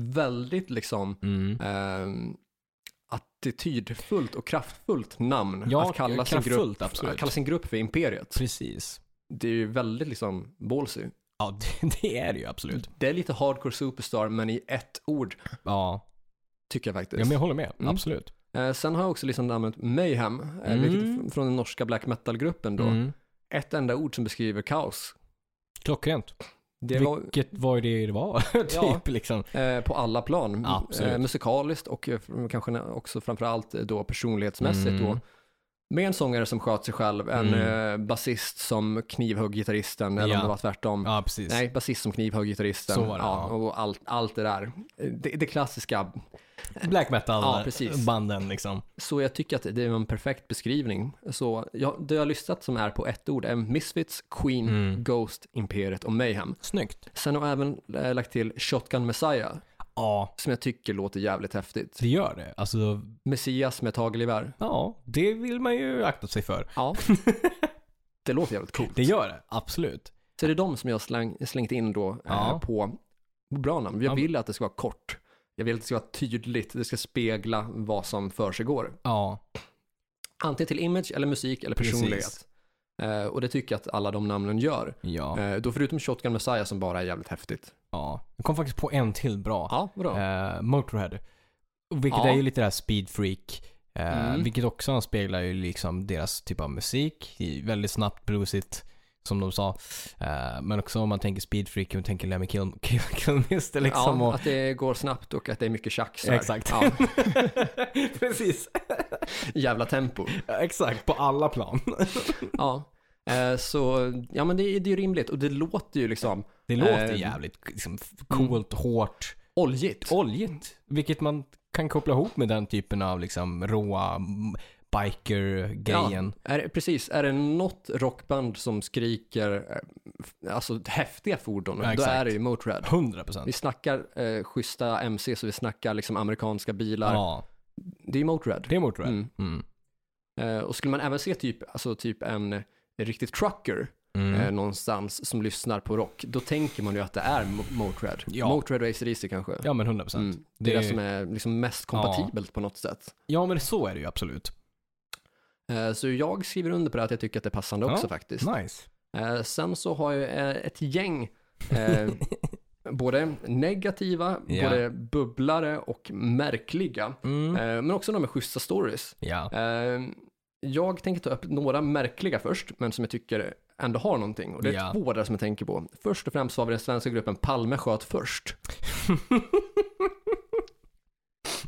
[SPEAKER 2] väldigt liksom
[SPEAKER 1] Mm.
[SPEAKER 2] eh, attitydfullt och kraftfullt namn
[SPEAKER 1] Ja,
[SPEAKER 2] att kalla sin,
[SPEAKER 1] kraftfullt,
[SPEAKER 2] grupp,
[SPEAKER 1] absolut.
[SPEAKER 2] att kalla sin grupp för Imperiet.
[SPEAKER 1] Precis.
[SPEAKER 2] Det är ju väldigt liksom ballsy.
[SPEAKER 1] Ja, *laughs* det, det är det ju absolut.
[SPEAKER 2] Det är lite hardcore superstar, men i ett ord,
[SPEAKER 1] Ja,
[SPEAKER 2] tycker jag
[SPEAKER 1] ja
[SPEAKER 2] faktiskt.
[SPEAKER 1] men jag håller med.
[SPEAKER 2] Mm.
[SPEAKER 1] Absolut.
[SPEAKER 2] Eh, Sen har jag också liksom namnet Mayhem, eh,
[SPEAKER 1] Mm.
[SPEAKER 2] vilket är fr- från den norska black metal-gruppen då.
[SPEAKER 1] Mm.
[SPEAKER 2] Ett enda ord som beskriver kaos.
[SPEAKER 1] Klockrent.
[SPEAKER 2] Det var
[SPEAKER 1] Vilket var ju det det var, *laughs* typ
[SPEAKER 2] Ja.
[SPEAKER 1] liksom.
[SPEAKER 2] eh, på alla plan,
[SPEAKER 1] Absolut.
[SPEAKER 2] Eh, musikaliskt och eh, fr- kanske na- också framförallt eh, då personlighetsmässigt
[SPEAKER 1] Mm.
[SPEAKER 2] då. Med en sångare som sköt sig själv, en
[SPEAKER 1] Mm.
[SPEAKER 2] eh, basist som knivhögg gitarristen, eller
[SPEAKER 1] Ja.
[SPEAKER 2] om det var tvärtom.
[SPEAKER 1] Ja, precis.
[SPEAKER 2] Nej, basist som knivhögg gitarristen.
[SPEAKER 1] Så var det,
[SPEAKER 2] ja,
[SPEAKER 1] ja.
[SPEAKER 2] Och allt, allt det där. Eh, Det, det klassiska.
[SPEAKER 1] Black metal
[SPEAKER 2] Ja, precis.
[SPEAKER 1] banden liksom.
[SPEAKER 2] Så jag tycker att det är en perfekt beskrivning. Så jag, det jag har lyssnat som är på ett ord är Misfits, Queen,
[SPEAKER 1] Mm.
[SPEAKER 2] Ghost, Imperiet och Mayhem.
[SPEAKER 1] Snyggt.
[SPEAKER 2] Sen har jag även eh, lagt till Shotgun Messiah,
[SPEAKER 1] Ja,
[SPEAKER 2] som jag tycker låter jävligt häftigt.
[SPEAKER 1] det gör det. Alltså,
[SPEAKER 2] Messias med tagelgevär.
[SPEAKER 1] ja, det vill man ju akta sig för.
[SPEAKER 2] Ja. *laughs* det låter jävligt coolt.
[SPEAKER 1] Det gör det, absolut.
[SPEAKER 2] Så det är de som jag har släng, slängt in då eh,
[SPEAKER 1] Ja.
[SPEAKER 2] på bra namn. Jag
[SPEAKER 1] Ja.
[SPEAKER 2] vill att det ska vara kort. Jag vill att det ska vara tydligt. Det ska spegla vad som försiggår.
[SPEAKER 1] Ja,
[SPEAKER 2] Antingen till image eller musik eller
[SPEAKER 1] Precis.
[SPEAKER 2] personlighet. Eh, och det tycker jag att alla de namnen gör.
[SPEAKER 1] ja,
[SPEAKER 2] Eh, Då förutom Shotgun Messiah som bara är jävligt häftigt.
[SPEAKER 1] ja. Jag kom faktiskt på en till bra.
[SPEAKER 2] Ja, vadå?
[SPEAKER 1] Eh, Motorhead. Vilket
[SPEAKER 2] Ja.
[SPEAKER 1] är ju lite det här speedfreak. Eh,
[SPEAKER 2] Mm.
[SPEAKER 1] Vilket också anspeglar ju liksom deras typ av musik. I väldigt snabbt, bluesigt, som de sa. Eh, men också om man tänker speedfreak och tänker Lemmy Kilm- Kilm- Kilmister liksom.
[SPEAKER 2] ja,
[SPEAKER 1] och,
[SPEAKER 2] att det går snabbt och att det är mycket tjack. så här.
[SPEAKER 1] Exakt.
[SPEAKER 2] Ja,
[SPEAKER 1] *laughs* Precis.
[SPEAKER 2] jävla tempo.
[SPEAKER 1] Exakt, på alla plan.
[SPEAKER 2] Ja. Eh, Så, ja men det, är- det är ju rimligt och det låter ju liksom
[SPEAKER 1] Det låter
[SPEAKER 2] Eh,
[SPEAKER 1] jävligt liksom, coolt, hårt,
[SPEAKER 2] oljigt.
[SPEAKER 1] oljigt. Vilket man kan koppla ihop med den typen av liksom råa mm, biker-grejen.
[SPEAKER 2] Ja, är, det- precis, är det något rockband som skriker eh, f- alltså häftiga fordon,
[SPEAKER 1] Ja,
[SPEAKER 2] då
[SPEAKER 1] exakt.
[SPEAKER 2] är det ju Motörhead.
[SPEAKER 1] 100%.
[SPEAKER 2] Vi snackar eh, schyssta MC, så vi snackar liksom amerikanska bilar.
[SPEAKER 1] Ja,
[SPEAKER 2] Det är ju Motörhead.
[SPEAKER 1] det är Motörhead.
[SPEAKER 2] Mm.
[SPEAKER 1] Mm. Mm.
[SPEAKER 2] Eh, Och skulle man även se typ, alltså typ en riktig trucker,
[SPEAKER 1] Mm.
[SPEAKER 2] eh, någonstans som lyssnar på rock, då tänker man ju att det är Mo- Motörhead.
[SPEAKER 1] Ja.
[SPEAKER 2] Motörhead och ACDC kanske.
[SPEAKER 1] Ja, men 100%.
[SPEAKER 2] Mm. Det är det som är liksom mest kompatibelt på något sätt.
[SPEAKER 1] Ja, men så är det ju absolut.
[SPEAKER 2] Eh, Så jag skriver under på det att jag tycker att det är passande
[SPEAKER 1] Ja,
[SPEAKER 2] också faktiskt.
[SPEAKER 1] Nice.
[SPEAKER 2] Eh, Sen så har jag eh, ett gäng,
[SPEAKER 1] *laughs*
[SPEAKER 2] eh, både negativa,
[SPEAKER 1] Ja.
[SPEAKER 2] både bubblare och märkliga,
[SPEAKER 1] Mm.
[SPEAKER 2] eh, men också de med schyssta stories.
[SPEAKER 1] Ja.
[SPEAKER 2] Ehm, Eh, Jag tänker ta upp några märkliga först, men som jag tycker ändå har någonting. Och det är
[SPEAKER 1] Ja.
[SPEAKER 2] två där som jag tänker på. Först och främst så har vi den svenska gruppen Palme sköt först.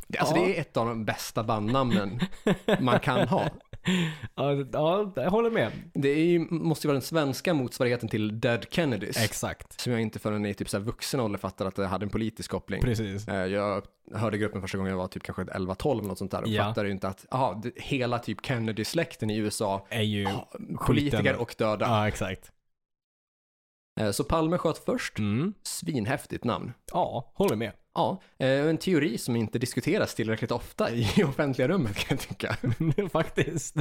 [SPEAKER 2] Det, alltså
[SPEAKER 1] Ja.
[SPEAKER 2] det är ett av de bästa bandnamnen man kan ha.
[SPEAKER 1] Ja, det- ja, jag håller med.
[SPEAKER 2] Det är ju, måste ju vara den svenska motsvarigheten till Dead Kennedys.
[SPEAKER 1] Exakt.
[SPEAKER 2] som jag inte förrän i typ så här vuxen ålder fattade att det hade en politisk koppling.
[SPEAKER 1] Precis.
[SPEAKER 2] Eh, Jag hörde gruppen första gången jag var typ kanske 11-12 eller något sånt där och
[SPEAKER 1] Ja.
[SPEAKER 2] fattade ju inte att aha, det, hela typ Kennedy-släkten i USA,
[SPEAKER 1] Är ju...
[SPEAKER 2] ah, politiker
[SPEAKER 1] skiten.
[SPEAKER 2] och döda.
[SPEAKER 1] Ja, exakt.
[SPEAKER 2] Eh, Så Palme sköt först,
[SPEAKER 1] Mm.
[SPEAKER 2] svinhäftigt namn.
[SPEAKER 1] Ja, håller med.
[SPEAKER 2] Ja, eh, en teori som inte diskuteras tillräckligt ofta i *laughs* offentliga rummet kan jag tycka.
[SPEAKER 1] *laughs* Faktiskt.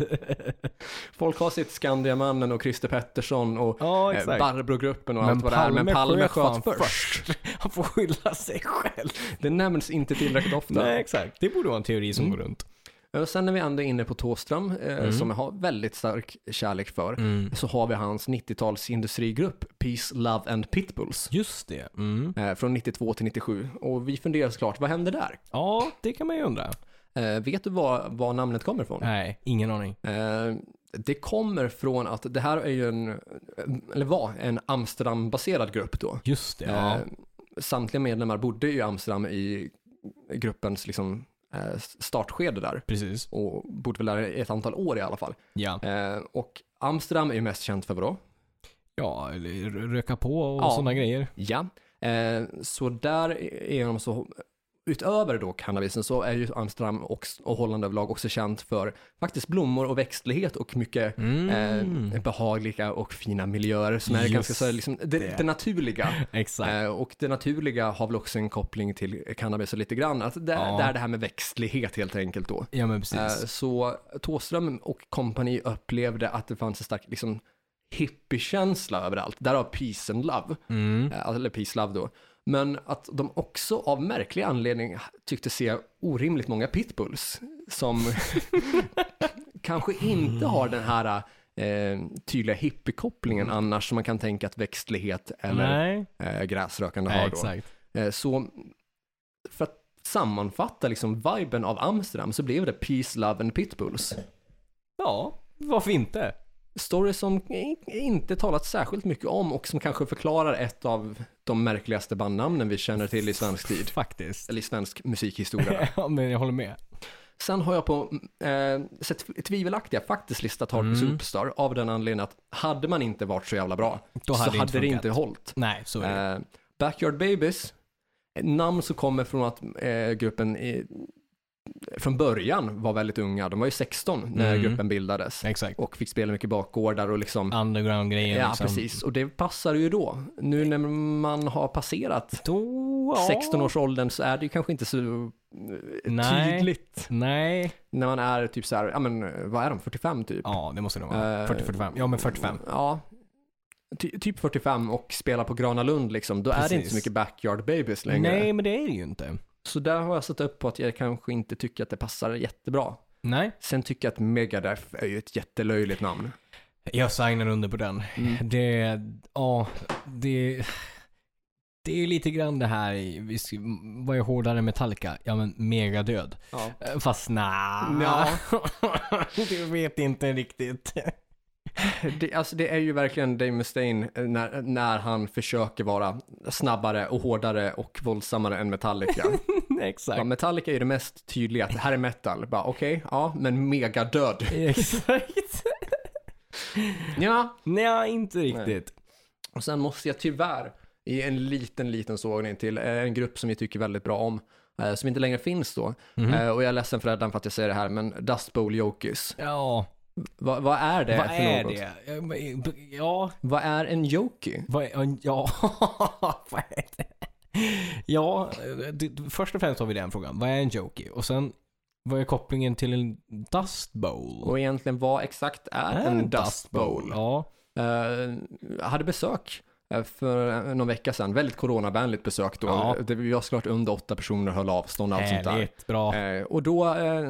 [SPEAKER 2] Folk har sitt Skandiamannen och Christer Pettersson och
[SPEAKER 1] Ja,
[SPEAKER 2] eh,
[SPEAKER 1] exakt.
[SPEAKER 2] Barbro-gruppen och
[SPEAKER 1] Men
[SPEAKER 2] allt vad det är, men
[SPEAKER 1] Palme
[SPEAKER 2] Palme
[SPEAKER 1] sköt
[SPEAKER 2] sköt
[SPEAKER 1] fan
[SPEAKER 2] först.
[SPEAKER 1] *laughs* Han får skylla sig själv.
[SPEAKER 2] Det nämns inte tillräckligt ofta.
[SPEAKER 1] Nej, exakt. Det borde vara en teori som
[SPEAKER 2] Mm.
[SPEAKER 1] går runt.
[SPEAKER 2] Och sen när vi ändå är inne på Tåström, eh,
[SPEAKER 1] Mm.
[SPEAKER 2] som jag har väldigt stark kärlek för, så har vi hans 90-tals industrigrupp Peace, Love and Pitbulls.
[SPEAKER 1] Just det. Mm.
[SPEAKER 2] eh, Från 92 till 97. Och vi funderar såklart, vad händer där?
[SPEAKER 1] Ja, det kan man ju undra.
[SPEAKER 2] Eh, Vet du var, var namnet kommer ifrån?
[SPEAKER 1] Nej, ingen aning.
[SPEAKER 2] Eh, Det kommer från att det här är ju en, eller var, en Amsterdam-baserad grupp då.
[SPEAKER 1] Just det. Ja.
[SPEAKER 2] Eh, Samtliga medlemmar bodde i Amsterdam i gruppens liksom, eh, startskede där.
[SPEAKER 1] Precis.
[SPEAKER 2] Och bodde väl där i ett antal år i alla fall.
[SPEAKER 1] Ja.
[SPEAKER 2] Eh, och Amsterdam är ju mest känt för vadå?
[SPEAKER 1] Ja, eller r- röka på och
[SPEAKER 2] Ja.
[SPEAKER 1] sådana grejer.
[SPEAKER 2] Ja. Eh, så där är de så, utöver då cannabisen så är ju Amsterdam och, och Holland överlag också känt för faktiskt blommor och växtlighet och mycket
[SPEAKER 1] Mm.
[SPEAKER 2] eh, behagliga och fina miljöer som är
[SPEAKER 1] Just
[SPEAKER 2] ganska så här, liksom, det, det.
[SPEAKER 1] det.
[SPEAKER 2] naturliga.
[SPEAKER 1] Exakt.
[SPEAKER 2] Eh, och det naturliga har väl också en koppling till cannabis och lite grann. Att det,
[SPEAKER 1] Ja.
[SPEAKER 2] det är det här med växtlighet helt enkelt då.
[SPEAKER 1] ja, men precis.
[SPEAKER 2] Eh, Så Thåström och kompani upplevde att det fanns en stark liksom, hippiekänsla överallt. Därav peace and love,
[SPEAKER 1] Mm.
[SPEAKER 2] Eh, eller peace love då. Men att de också av märklig anledning tyckte se orimligt många pitbulls som *laughs* kanske inte har den här eh, tydliga hippiekopplingen annars som man kan tänka att växtlighet eller
[SPEAKER 1] Nej,
[SPEAKER 2] eh, gräsrökande
[SPEAKER 1] Nej
[SPEAKER 2] har då.
[SPEAKER 1] exakt.
[SPEAKER 2] Eh, Så för att sammanfatta liksom viben av Amsterdam så blev det Peace, Love and Pitbulls.
[SPEAKER 1] Ja, varför inte?
[SPEAKER 2] Story som i- inte talat särskilt mycket om och som kanske förklarar ett av de märkligaste bandnamnen vi känner till i svensk tid.
[SPEAKER 1] Faktiskt.
[SPEAKER 2] Eller i svensk musikhistoria.
[SPEAKER 1] *laughs* ja, men jag håller med.
[SPEAKER 2] Sen har jag på eh, sett tvivelaktiga faktiskt listat
[SPEAKER 1] Mm.
[SPEAKER 2] Harvey Superstar av den anledningen att hade man inte varit så jävla bra
[SPEAKER 1] Då hade
[SPEAKER 2] så
[SPEAKER 1] det inte
[SPEAKER 2] hade det
[SPEAKER 1] funkat.
[SPEAKER 2] inte hållit.
[SPEAKER 1] Nej, så är det.
[SPEAKER 2] Eh, Backyard Babies, ett namn som kommer från att eh, gruppen i, från början var väldigt unga. De var ju 16 när
[SPEAKER 1] Mm.
[SPEAKER 2] gruppen bildades
[SPEAKER 1] exakt.
[SPEAKER 2] och fick spela mycket bakgårdar och liksom,
[SPEAKER 1] Underground-grejer
[SPEAKER 2] ja
[SPEAKER 1] liksom.
[SPEAKER 2] precis. Och det passar ju då. Nu när man har passerat
[SPEAKER 1] Då, ja.
[SPEAKER 2] 16-årsåldern så är det ju kanske inte så
[SPEAKER 1] Nej.
[SPEAKER 2] tydligt
[SPEAKER 1] Nej. när
[SPEAKER 2] när man är typ så här, ja men vad är de, 45 typ?
[SPEAKER 1] Ja, det måste det vara.
[SPEAKER 2] Eh,
[SPEAKER 1] 40-45. Ja, men 45.
[SPEAKER 2] Ja. Ty, typ 45 och spelar på Grana Lund liksom, då är det inte
[SPEAKER 1] Precis.
[SPEAKER 2] så mycket Backyard Babies längre.
[SPEAKER 1] Nej, men det är det ju inte.
[SPEAKER 2] Så där har jag satt upp på att jag kanske inte tycker att det passar jättebra.
[SPEAKER 1] Nej.
[SPEAKER 2] Sen tycker jag att Megadeth är ju ett jättelöjligt namn.
[SPEAKER 1] Jag signar under på den.
[SPEAKER 2] Mm.
[SPEAKER 1] *laughs* Det, ja, det, det är ju lite grann det här, i- vi ska- vad är hårdare än Metallica? Ja men megadöd.
[SPEAKER 2] Ja.
[SPEAKER 1] Eh, Fast nja,
[SPEAKER 2] Nja.
[SPEAKER 1] *laughs* du vet inte riktigt. *laughs*
[SPEAKER 2] Det, alltså det är ju verkligen Dave Mustaine eh, när, när han försöker vara snabbare och hårdare och våldsammare än Metallica.
[SPEAKER 1] Exakt.
[SPEAKER 2] *laughs* ja, Metallica är ju det mest tydliga, att det här är metal. Bara okej, ja, men megadöd.
[SPEAKER 1] Exakt. *laughs*
[SPEAKER 2] Ja.
[SPEAKER 1] Nej, inte riktigt.
[SPEAKER 2] Och sen måste jag tyvärr ge en liten, liten sågning till eh, en grupp som vi tycker väldigt bra om, eh, som inte längre finns då. Eh, Och jag är ledsen för Eddan för att jag säger det här, men Dust Bowl Jokis.
[SPEAKER 1] Ja,
[SPEAKER 2] Va, vad är det
[SPEAKER 1] vad
[SPEAKER 2] för
[SPEAKER 1] är
[SPEAKER 2] något?
[SPEAKER 1] det? Ja, men- Ja,
[SPEAKER 2] Vad är en joki?
[SPEAKER 1] vad är, ja, *laughs* vad är det? Ja, det, först och främst har vi den frågan. Vad är en jokey? Och sen, vad är kopplingen till en dust bowl?
[SPEAKER 2] Och egentligen vad exakt är en dust bowl?
[SPEAKER 1] Ja.
[SPEAKER 2] Eh, jag hade besök eh, för någon vecka sedan, väldigt coronavänligt besök då.
[SPEAKER 1] Ja.
[SPEAKER 2] Det, vi var såklart under åtta personer höll avstånd och allt sånt där.
[SPEAKER 1] Härligt, bra.
[SPEAKER 2] Eh, och då eh,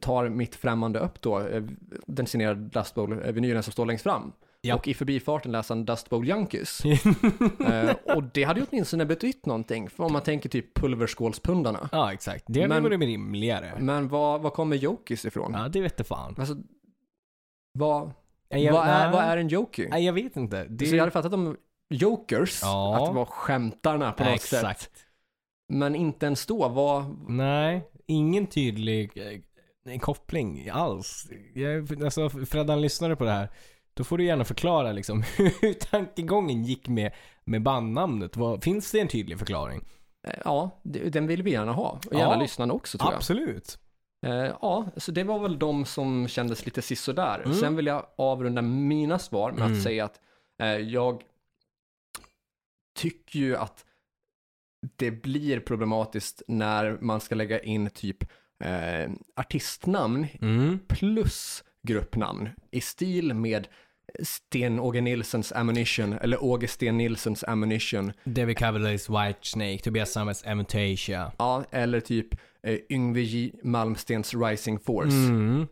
[SPEAKER 2] tar mitt främmande upp då eh, den signerade Dust Bowl-vinylen som står längst fram.
[SPEAKER 1] Ja.
[SPEAKER 2] Och i förbifarten läser han Dust
[SPEAKER 1] *laughs*
[SPEAKER 2] Bowl Junkies. eh, och det hade ju åtminstone betytt någonting, för om man tänker typ pulverskålspundarna.
[SPEAKER 1] Ja, exakt. Det hade
[SPEAKER 2] Men- Mm.
[SPEAKER 1] varit rimligare.
[SPEAKER 2] Men vad, vad kommer Jokis ifrån?
[SPEAKER 1] Ja, det vet du fan.
[SPEAKER 2] Alltså, vad,
[SPEAKER 1] Nej, jag-
[SPEAKER 2] vad, är,
[SPEAKER 1] nej.
[SPEAKER 2] vad är en joker?
[SPEAKER 1] Nej, jag vet inte. Det,
[SPEAKER 2] Så jag hade fattat om jokers,
[SPEAKER 1] Ja.
[SPEAKER 2] att det var skämtarna på
[SPEAKER 1] Nej,
[SPEAKER 2] något
[SPEAKER 1] exakt.
[SPEAKER 2] sätt. Men inte ens då, vad,
[SPEAKER 1] Nej, ingen tydlig eh, koppling alls. Jag, alltså, Freddan lyssnade på det här. Då får du gärna förklara liksom, *laughs* hur tankegången gick med, med bandnamnet. Vad, finns det en tydlig förklaring?
[SPEAKER 2] eh, ja, det- den vill vi gärna ha. Och gärna
[SPEAKER 1] Ja.
[SPEAKER 2] lyssnarna också tror jag.
[SPEAKER 1] Absolut.
[SPEAKER 2] Eh, ja, så det var väl de som kändes lite sisådär.
[SPEAKER 1] Mm.
[SPEAKER 2] Sen vill jag avrunda mina svar med
[SPEAKER 1] Mm.
[SPEAKER 2] att säga att eh, jag tycker ju att det blir problematiskt när man ska lägga in typ eh, artistnamn
[SPEAKER 1] Mm.
[SPEAKER 2] plus gruppnamn i stil med Sten-Åge Nilssons Ammunition eller Åge Sten Nilssons Ammunition.
[SPEAKER 1] David Cavaliers White Snake, Tobias Samets Amentasia.
[SPEAKER 2] Ja, eller typ eh, Yngve J. Malmstens Rising Force.
[SPEAKER 1] Mm.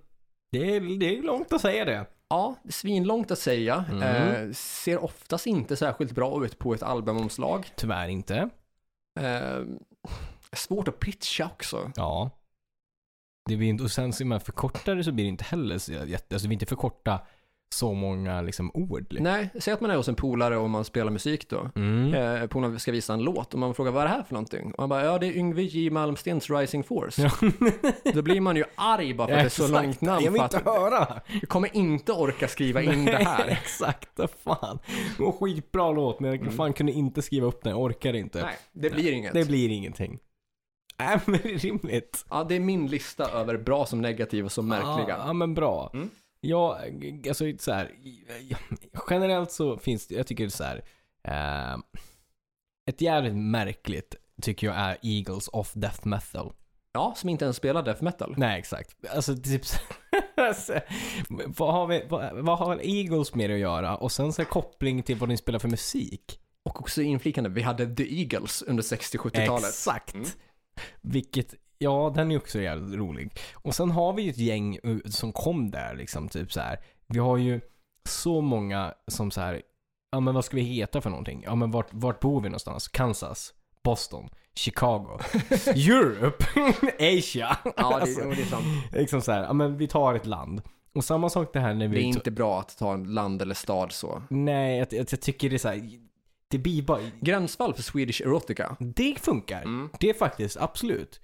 [SPEAKER 1] Det, är, det är långt att säga det.
[SPEAKER 2] Ja, svinlångt att säga.
[SPEAKER 1] Mm.
[SPEAKER 2] Eh, ser oftast inte särskilt bra ut på ett albumomslag.
[SPEAKER 1] Tyvärr inte.
[SPEAKER 2] Eh, svårt att pitcha också.
[SPEAKER 1] Ja. Det blir inte, och sen så är man förkortare så blir det inte heller så jätte, alltså vi inte förkorta så många liksom ord. Liksom.
[SPEAKER 2] Nej, säg att man är hos en polare och man spelar musik då.
[SPEAKER 1] Mm.
[SPEAKER 2] Eh, polaren ska visa en låt och man frågar vad är det här för någonting? Och han bara, ja det är Yngve J Malmstens Rising Force.
[SPEAKER 1] Ja.
[SPEAKER 2] *laughs* Då blir man ju arg bara för att det är så
[SPEAKER 1] Exakt.
[SPEAKER 2] långt namn.
[SPEAKER 1] Jag vill
[SPEAKER 2] för
[SPEAKER 1] inte
[SPEAKER 2] att
[SPEAKER 1] höra.
[SPEAKER 2] jag kommer inte orka skriva in det
[SPEAKER 1] *laughs*
[SPEAKER 2] här.
[SPEAKER 1] Exakt, vad fan. Det var en skitbra låt men jag fan kunde inte skriva upp den, jag orkar inte.
[SPEAKER 2] Nej, det blir inget.
[SPEAKER 1] Det blir ingenting. Nej men det är rimligt.
[SPEAKER 2] Ja, det är min lista över bra som negativ och
[SPEAKER 1] Ah,
[SPEAKER 2] som märkliga.
[SPEAKER 1] Ja, ja men bra.
[SPEAKER 2] Mm.
[SPEAKER 1] Ja, g- alltså så här, ja, generellt så finns det, jag tycker så här, eh, ett jävligt märkligt tycker jag är Eagles of Death Metal.
[SPEAKER 2] Ja, som inte ens spelar death metal.
[SPEAKER 1] Nej exakt, alltså typ så- *laughs* alltså, vad, har vi, vad, vad har Eagles med det att göra? Och sen så här, koppling till vad ni spelar för musik.
[SPEAKER 2] Och också inflikande, vi hade The Eagles under 60-70-talet.
[SPEAKER 1] Exakt.
[SPEAKER 2] Mm.
[SPEAKER 1] Vilket, ja den är också jävligt rolig. Och sen har vi ju ett gäng uh, som kom där liksom typ så här. Vi har ju så många som så här, ja men vad ska vi heta för någonting? Ja men vart, vart bor vi någonstans? Kansas? Boston?
[SPEAKER 2] *laughs*
[SPEAKER 1] Chicago? Europe? *laughs* Asia?
[SPEAKER 2] Ja, det,
[SPEAKER 1] Alltså,
[SPEAKER 2] jo, det är sant.
[SPEAKER 1] liksom så här, ja men vi tar ett land. Och samma sak det här när vi...
[SPEAKER 2] Det är inte bra att ta en land eller stad så.
[SPEAKER 1] Nej, jag, jag, jag tycker det är så här, det blir bara...
[SPEAKER 2] Gränsfall för Swedish Erotica.
[SPEAKER 1] Det funkar.
[SPEAKER 2] Mm.
[SPEAKER 1] Det är faktiskt, absolut.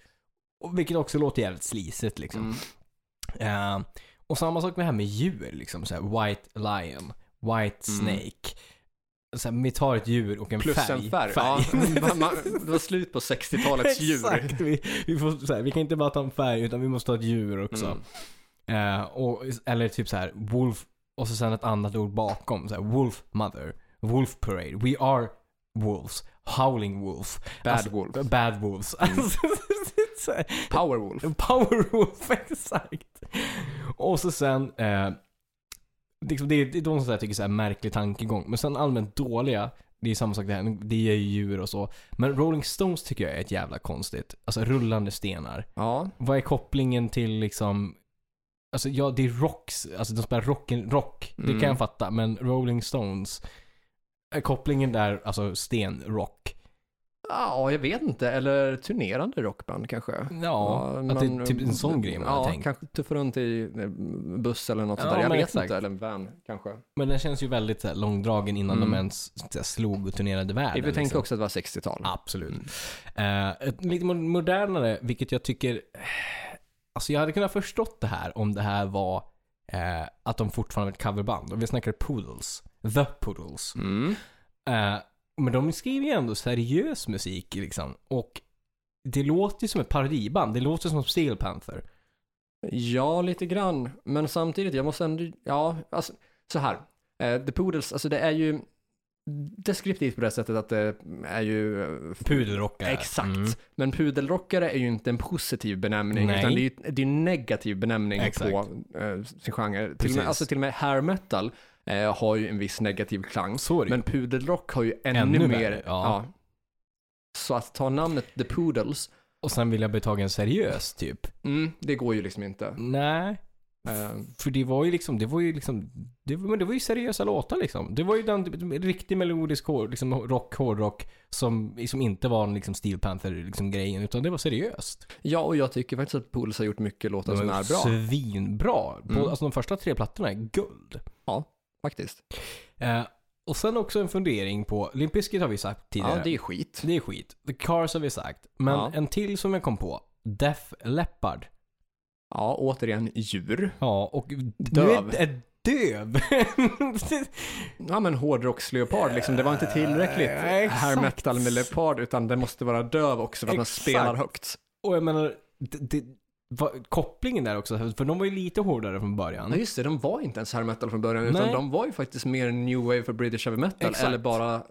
[SPEAKER 1] Och vilket också låter jävligt slisigt liksom.
[SPEAKER 2] Mm.
[SPEAKER 1] Eh, och samma sak med det här med djur, liksom så här, White Lion, White
[SPEAKER 2] Mm.
[SPEAKER 1] Snake. Så här, vi tar ett djur och en
[SPEAKER 2] Plus
[SPEAKER 1] färg.
[SPEAKER 2] en färg. Ja,
[SPEAKER 1] *laughs*
[SPEAKER 2] man, man, det var slut på 60-talets djur.
[SPEAKER 1] Exakt, Mm. vi, vi, får, så här, vi kan inte bara ta en färg utan vi måste ha ett djur också.
[SPEAKER 2] Mm.
[SPEAKER 1] Eh, och, eller typ så här, Wolf och så sen ett annat ord bakom. Så här, wolf Mother, Wolf Parade, We Are Wolves, Howling Wolf,
[SPEAKER 2] Bad
[SPEAKER 1] Alltså,
[SPEAKER 2] Wolf,
[SPEAKER 1] Bad Wolves. Alltså, *laughs* så här,
[SPEAKER 2] Power Wolf.
[SPEAKER 1] Powerwolf, *laughs* exakt. Och så sen, eh, liksom det, är- det är de som jag tycker är märklig tankegång. Men sen allmänt dåliga, det är samma sak det här, det är ju djur och så. Men Rolling Stones tycker jag är ett jävla konstigt. Alltså rullande stenar.
[SPEAKER 2] Ja,
[SPEAKER 1] Vad är kopplingen till liksom, alltså ja det är rocks, alltså de spelar rock, rock det
[SPEAKER 2] Mm.
[SPEAKER 1] kan jag fatta. Men Rolling Stones, är kopplingen där, alltså stenrock.
[SPEAKER 2] ja, jag vet inte. Eller turnerande rockband kanske.
[SPEAKER 1] Ja, att det är typ en sån grej man har
[SPEAKER 2] ja,
[SPEAKER 1] tänkt.
[SPEAKER 2] kanske tuffa runt i eh, buss eller något
[SPEAKER 1] Ja,
[SPEAKER 2] sånt där. Jag
[SPEAKER 1] men
[SPEAKER 2] vet
[SPEAKER 1] exakt.
[SPEAKER 2] inte. Eller en van kanske.
[SPEAKER 1] Men den känns ju väldigt så här, långdragen innan
[SPEAKER 2] Mm.
[SPEAKER 1] de ens så här, slog och turnerade världen.
[SPEAKER 2] Vi tänkte
[SPEAKER 1] liksom.
[SPEAKER 2] också Mm. att det var 60-tal.
[SPEAKER 1] Absolut. Eh, ett lite mo- modernare, vilket jag tycker... eh, Alltså jag hade kunnat förstått det här om det här var eh, att de fortfarande var ett coverband. Och vi snackar Poodles. The Poodles.
[SPEAKER 2] Mm.
[SPEAKER 1] Eh, men de skriver ju ändå seriös musik liksom. Och det låter ju som ett parodiband. Det låter som Steel Panther.
[SPEAKER 2] Ja, lite grann. Men samtidigt, jag måste ändå, ja, alltså så här. Eh, The Poodles, alltså det är ju deskriptivt på det sättet att det är ju... eh,
[SPEAKER 1] Pudelrockare.
[SPEAKER 2] Exakt.
[SPEAKER 1] Mm.
[SPEAKER 2] Men pudelrockare är ju inte en positiv benämning,
[SPEAKER 1] Nej.
[SPEAKER 2] utan det är ju det är en negativ benämning
[SPEAKER 1] Exakt.
[SPEAKER 2] på eh, sin genre. Till och
[SPEAKER 1] Precis.
[SPEAKER 2] med, alltså till och med hair metal eh, har ju en viss negativ klang.
[SPEAKER 1] Så är det ju.
[SPEAKER 2] Men pudelrock har ju ännu,
[SPEAKER 1] Ännu
[SPEAKER 2] mer.
[SPEAKER 1] värre, ja.
[SPEAKER 2] Så att ta namnet The Poodles,
[SPEAKER 1] Och sen vill jag bli tagen seriös typ.
[SPEAKER 2] mm, det går ju liksom inte.
[SPEAKER 1] Nej.
[SPEAKER 2] Eh,
[SPEAKER 1] För det var ju liksom, det var ju liksom, det, var- men det var ju seriösa låtar liksom. Det var ju den en riktig melodisk hår, liksom rock, hårdrock som, som inte var en liksom Steel Panther liksom grejen utan det var seriöst.
[SPEAKER 2] ja, och jag tycker faktiskt att Puls har gjort mycket låtar som
[SPEAKER 1] var
[SPEAKER 2] är
[SPEAKER 1] ju
[SPEAKER 2] bra,
[SPEAKER 1] Svinbra. På,
[SPEAKER 2] Mm.
[SPEAKER 1] Alltså de första tre plattorna är guld.
[SPEAKER 2] faktiskt.
[SPEAKER 1] Eh, och sen också en fundering på, Limp Bizkit har vi sagt tidigare.
[SPEAKER 2] Ja, det är skit.
[SPEAKER 1] Det är skit. The Cars har vi sagt. Men
[SPEAKER 2] Ja.
[SPEAKER 1] en till som jag kom på. Def Leppard.
[SPEAKER 2] Ja, återigen djur.
[SPEAKER 1] Ja, och
[SPEAKER 2] Döv.
[SPEAKER 1] Nu är, är döv. *laughs*
[SPEAKER 2] Ja, men hårdrocksleopard liksom. Det var inte tillräckligt
[SPEAKER 1] Eh,
[SPEAKER 2] hair
[SPEAKER 1] exakt.
[SPEAKER 2] metal med leopard, utan det måste vara döv också för att man
[SPEAKER 1] Exakt.
[SPEAKER 2] spelar högt.
[SPEAKER 1] och jag menar, det, det, vad- kopplingen där också. För de var ju lite hårdare från
[SPEAKER 2] Ja,
[SPEAKER 1] början.
[SPEAKER 2] just det. De var inte ens hair metal från början, utan
[SPEAKER 1] Mm. Nej.
[SPEAKER 2] de var ju faktiskt mer new wave för British heavy metal,
[SPEAKER 1] Exakt.
[SPEAKER 2] eller bara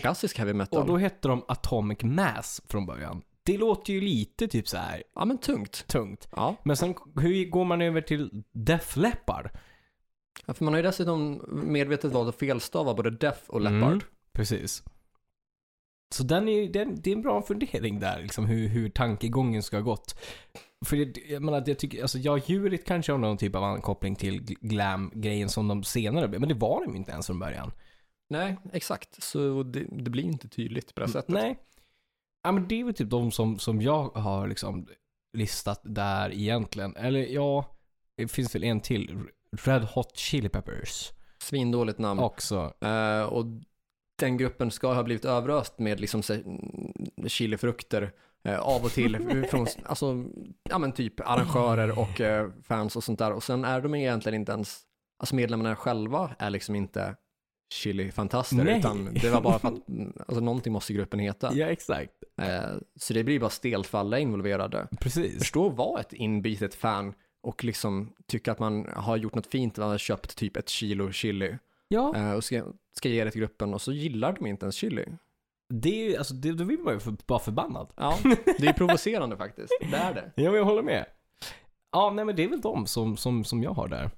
[SPEAKER 2] klassisk heavy metal.
[SPEAKER 1] Och då hette de Atomic Mass från början. Det låter ju lite typ så här
[SPEAKER 2] Ja, men tungt.
[SPEAKER 1] tungt.
[SPEAKER 2] Ja.
[SPEAKER 1] Men sen hur går man över till Def Leppard?
[SPEAKER 2] Ja, för man har ju dessutom medvetet valt att felstava både Death och Leopard.
[SPEAKER 1] Mm, precis. Så den är, ju- den, det är en bra fundering där, liksom hur, hur tankegången ska ha gått. För det, jag menar, jag tycker, alltså ja, djuret kanske har någon typ av ankoppling till gl- glam-grejen som de senare blev, men det var de ju inte ens från början.
[SPEAKER 2] Nej, exakt. Så det, det blir inte tydligt på det sättet.
[SPEAKER 1] Nej. Ja, men det är väl typ de som, som jag har liksom listat där egentligen. Eller ja, det finns väl en till. Red Hot Chili Peppers.
[SPEAKER 2] Svindåligt namn.
[SPEAKER 1] Också.
[SPEAKER 2] Eh, och den gruppen ska ha blivit överöst med liksom se- mm, chilifrukter eh, av
[SPEAKER 1] *laughs*
[SPEAKER 2] och till från alltså, ja, men typ arrangörer och eh, fans och sånt där. Och sen är de egentligen inte ens, alltså medlemmarna själva är liksom inte chilifantaster
[SPEAKER 1] Nej.
[SPEAKER 2] utan det var bara
[SPEAKER 1] *laughs*
[SPEAKER 2] för att mm, alltså, någonting måste gruppen heta.
[SPEAKER 1] Ja, exakt.
[SPEAKER 2] Eh, så det blir bara stelt för alla involverade.
[SPEAKER 1] Precis.
[SPEAKER 2] Förstå att vara ett inbitet fan och liksom tycka att man har gjort något fint, man har köpt typ ett kilo chili.
[SPEAKER 1] Ja.
[SPEAKER 2] Eh, och ska, ska ge det till gruppen och så gillar de inte ens chili.
[SPEAKER 1] Det är ju, alltså, det, då blir man ju för, bara förbannad.
[SPEAKER 2] Ja, det är provocerande faktiskt. Det är det.
[SPEAKER 1] Ja, men jag håller med. Ja, nej men det är väl de som, som, som jag har där.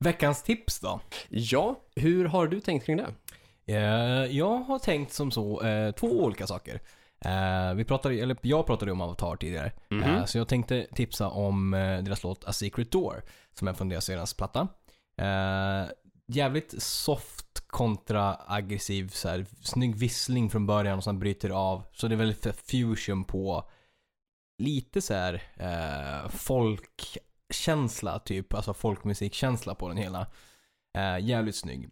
[SPEAKER 1] Veckans tips då?
[SPEAKER 2] Ja, hur har du tänkt kring det?
[SPEAKER 1] Eh, jag har tänkt som så, eh, två olika saker. Eh, vi pratade, eller jag pratade om Avatar tidigare. Eh, så jag tänkte tipsa om eh, deras låt A Secret Door, som är från deras senaste platta. Eh, jävligt soft kontra aggressiv, så här, snygg vissling från början och sen bryter av. Så det är väl f- fusion på lite så här eh, folkkänsla typ, alltså folkmusikkänsla på den hela. Eh, jävligt snygg.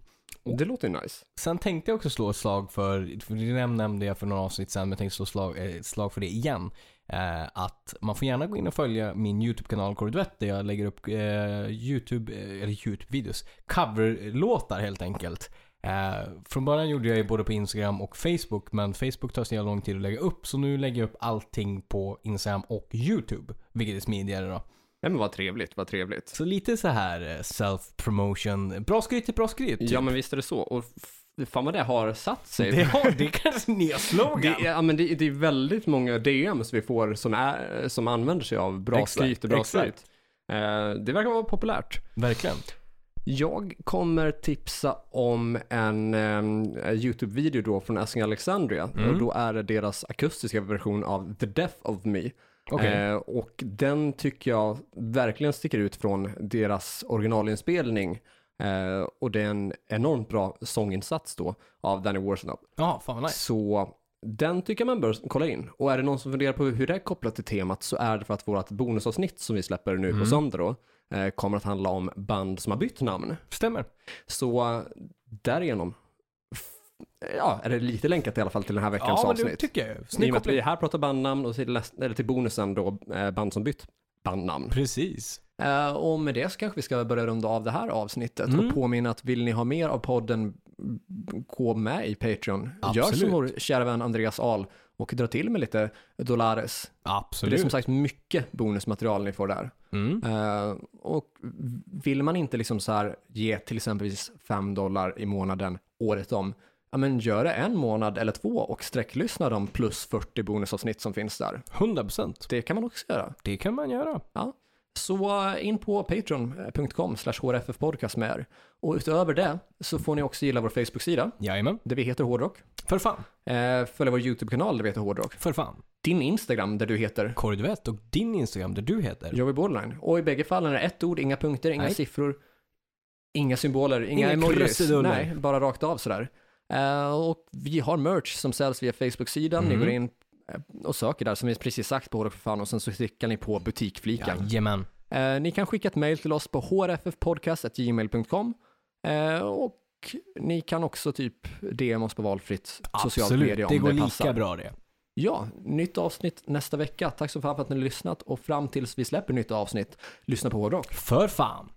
[SPEAKER 2] Det låter ju nice.
[SPEAKER 1] Sen tänkte jag också slå ett slag för, för det näm- nämnde jag för några avsnitt sen, men jag tänkte slå slag, eh, ett slag för det igen. Eh, att man får gärna gå in och följa min YouTube-kanal Korridvett där jag lägger upp eh, YouTube, eh, eller YouTube-videos, coverlåtar helt enkelt. Eh, från början gjorde jag ju både på Instagram och Facebook, men Facebook tar så jävla lång tid att lägga upp, så nu lägger jag upp allting på Instagram och YouTube, vilket är smidigare då.
[SPEAKER 2] Ja, men vad trevligt, vad trevligt.
[SPEAKER 1] Så lite så här eh, self-promotion, bra skryt är bra skryt. typ.
[SPEAKER 2] Ja, men visst är det så. Och f- fan vad det har satt sig.
[SPEAKER 1] det, har, det är kanske
[SPEAKER 2] *laughs*
[SPEAKER 1] nya slogan.
[SPEAKER 2] Det är, ja, men det, det är väldigt många DMs vi får som, är, som använder sig av bra
[SPEAKER 1] Exakt,
[SPEAKER 2] skryt och bra
[SPEAKER 1] exakt.
[SPEAKER 2] skryt. Eh, det verkar vara populärt.
[SPEAKER 1] Verkligen.
[SPEAKER 2] Jag kommer tipsa om en eh, YouTube-video då från Asking Alexandria. Och då är det deras akustiska version av The Death of Me.
[SPEAKER 1] Okej.
[SPEAKER 2] Eh, och den tycker jag verkligen sticker ut från deras originalinspelning. Eh, och det är en enormt bra sånginsats då av Danny Warsnop.
[SPEAKER 1] Ja, fan vad nice.
[SPEAKER 2] Så den tycker jag man bör kolla in. Och är det någon som funderar på hur det är kopplat till temat så är det för att vårt bonusavsnitt som vi släpper nu på söndag då eh, kommer att handla om band som har bytt namn.
[SPEAKER 1] Stämmer.
[SPEAKER 2] Så eh, därigenom f- ja, är det lite länkat i alla fall till den här veckans
[SPEAKER 1] Ja, men det
[SPEAKER 2] avsnitt.
[SPEAKER 1] tycker jag.
[SPEAKER 2] I och
[SPEAKER 1] Snygg
[SPEAKER 2] med att
[SPEAKER 1] koppling.
[SPEAKER 2] vi här pratar bandnamn och till, näst- eller till bonusen då eh, band som bytt bandnamn.
[SPEAKER 1] Precis.
[SPEAKER 2] Eh, och med det så kanske vi ska börja runda av det här avsnittet och påminna att vill ni ha mer av podden, b- b- gå med i Patreon. Gör som
[SPEAKER 1] Absolut.
[SPEAKER 2] vår kära vän Andreas Ahl och dra till med lite dollares. För det är
[SPEAKER 1] Absolut.
[SPEAKER 2] som sagt mycket bonusmaterial ni får där.
[SPEAKER 1] mm.
[SPEAKER 2] Eh, och vill man inte liksom så här ge till exempelvis 5 dollar i månaden året om, ja men gör det en månad eller två och sträcklyssna de plus 40 bonusavsnitt som finns där.
[SPEAKER 1] 100%.
[SPEAKER 2] Det kan man också göra.
[SPEAKER 1] Det kan man göra.
[SPEAKER 2] Ja. Så eh, in på patreon.com slash hrffpodcast med er. Och utöver det så får ni också gilla vår Facebook-sida
[SPEAKER 1] Jajamän.
[SPEAKER 2] där vi heter Hårdrock.
[SPEAKER 1] För fan.
[SPEAKER 2] Eh, följa vår YouTube-kanal där vi heter Hårdrock.
[SPEAKER 1] För fan.
[SPEAKER 2] Din Instagram där du heter
[SPEAKER 1] Korvett och din Instagram där du heter.
[SPEAKER 2] Joey Borderline. Och i bägge fallen är det ett ord, inga punkter, inga
[SPEAKER 1] Nej.
[SPEAKER 2] siffror, inga symboler, inga,
[SPEAKER 1] Inga
[SPEAKER 2] emojis.
[SPEAKER 1] krusiduller.
[SPEAKER 2] Nej, bara rakt av sådär. Eh, och vi har merch som säljs via Facebook-sidan. Ni
[SPEAKER 1] Mm.
[SPEAKER 2] går in eh, och söker där, som vi precis sagt, på Hårdrock för fan och sen så klickar ni på butikfliken.
[SPEAKER 1] Jajamän.
[SPEAKER 2] Eh, ni kan skicka ett mejl till oss på hrffpodcast.gmail.com eh, och ni kan också typ DM oss på valfritt socialt
[SPEAKER 1] Absolut.
[SPEAKER 2] media om
[SPEAKER 1] Det
[SPEAKER 2] det,
[SPEAKER 1] går lika
[SPEAKER 2] passar.
[SPEAKER 1] bra det.
[SPEAKER 2] Ja, nytt avsnitt nästa vecka. Tack så fan för att ni har lyssnat och fram tills vi släpper nytt avsnitt, lyssna på hårdrock.
[SPEAKER 1] För fan.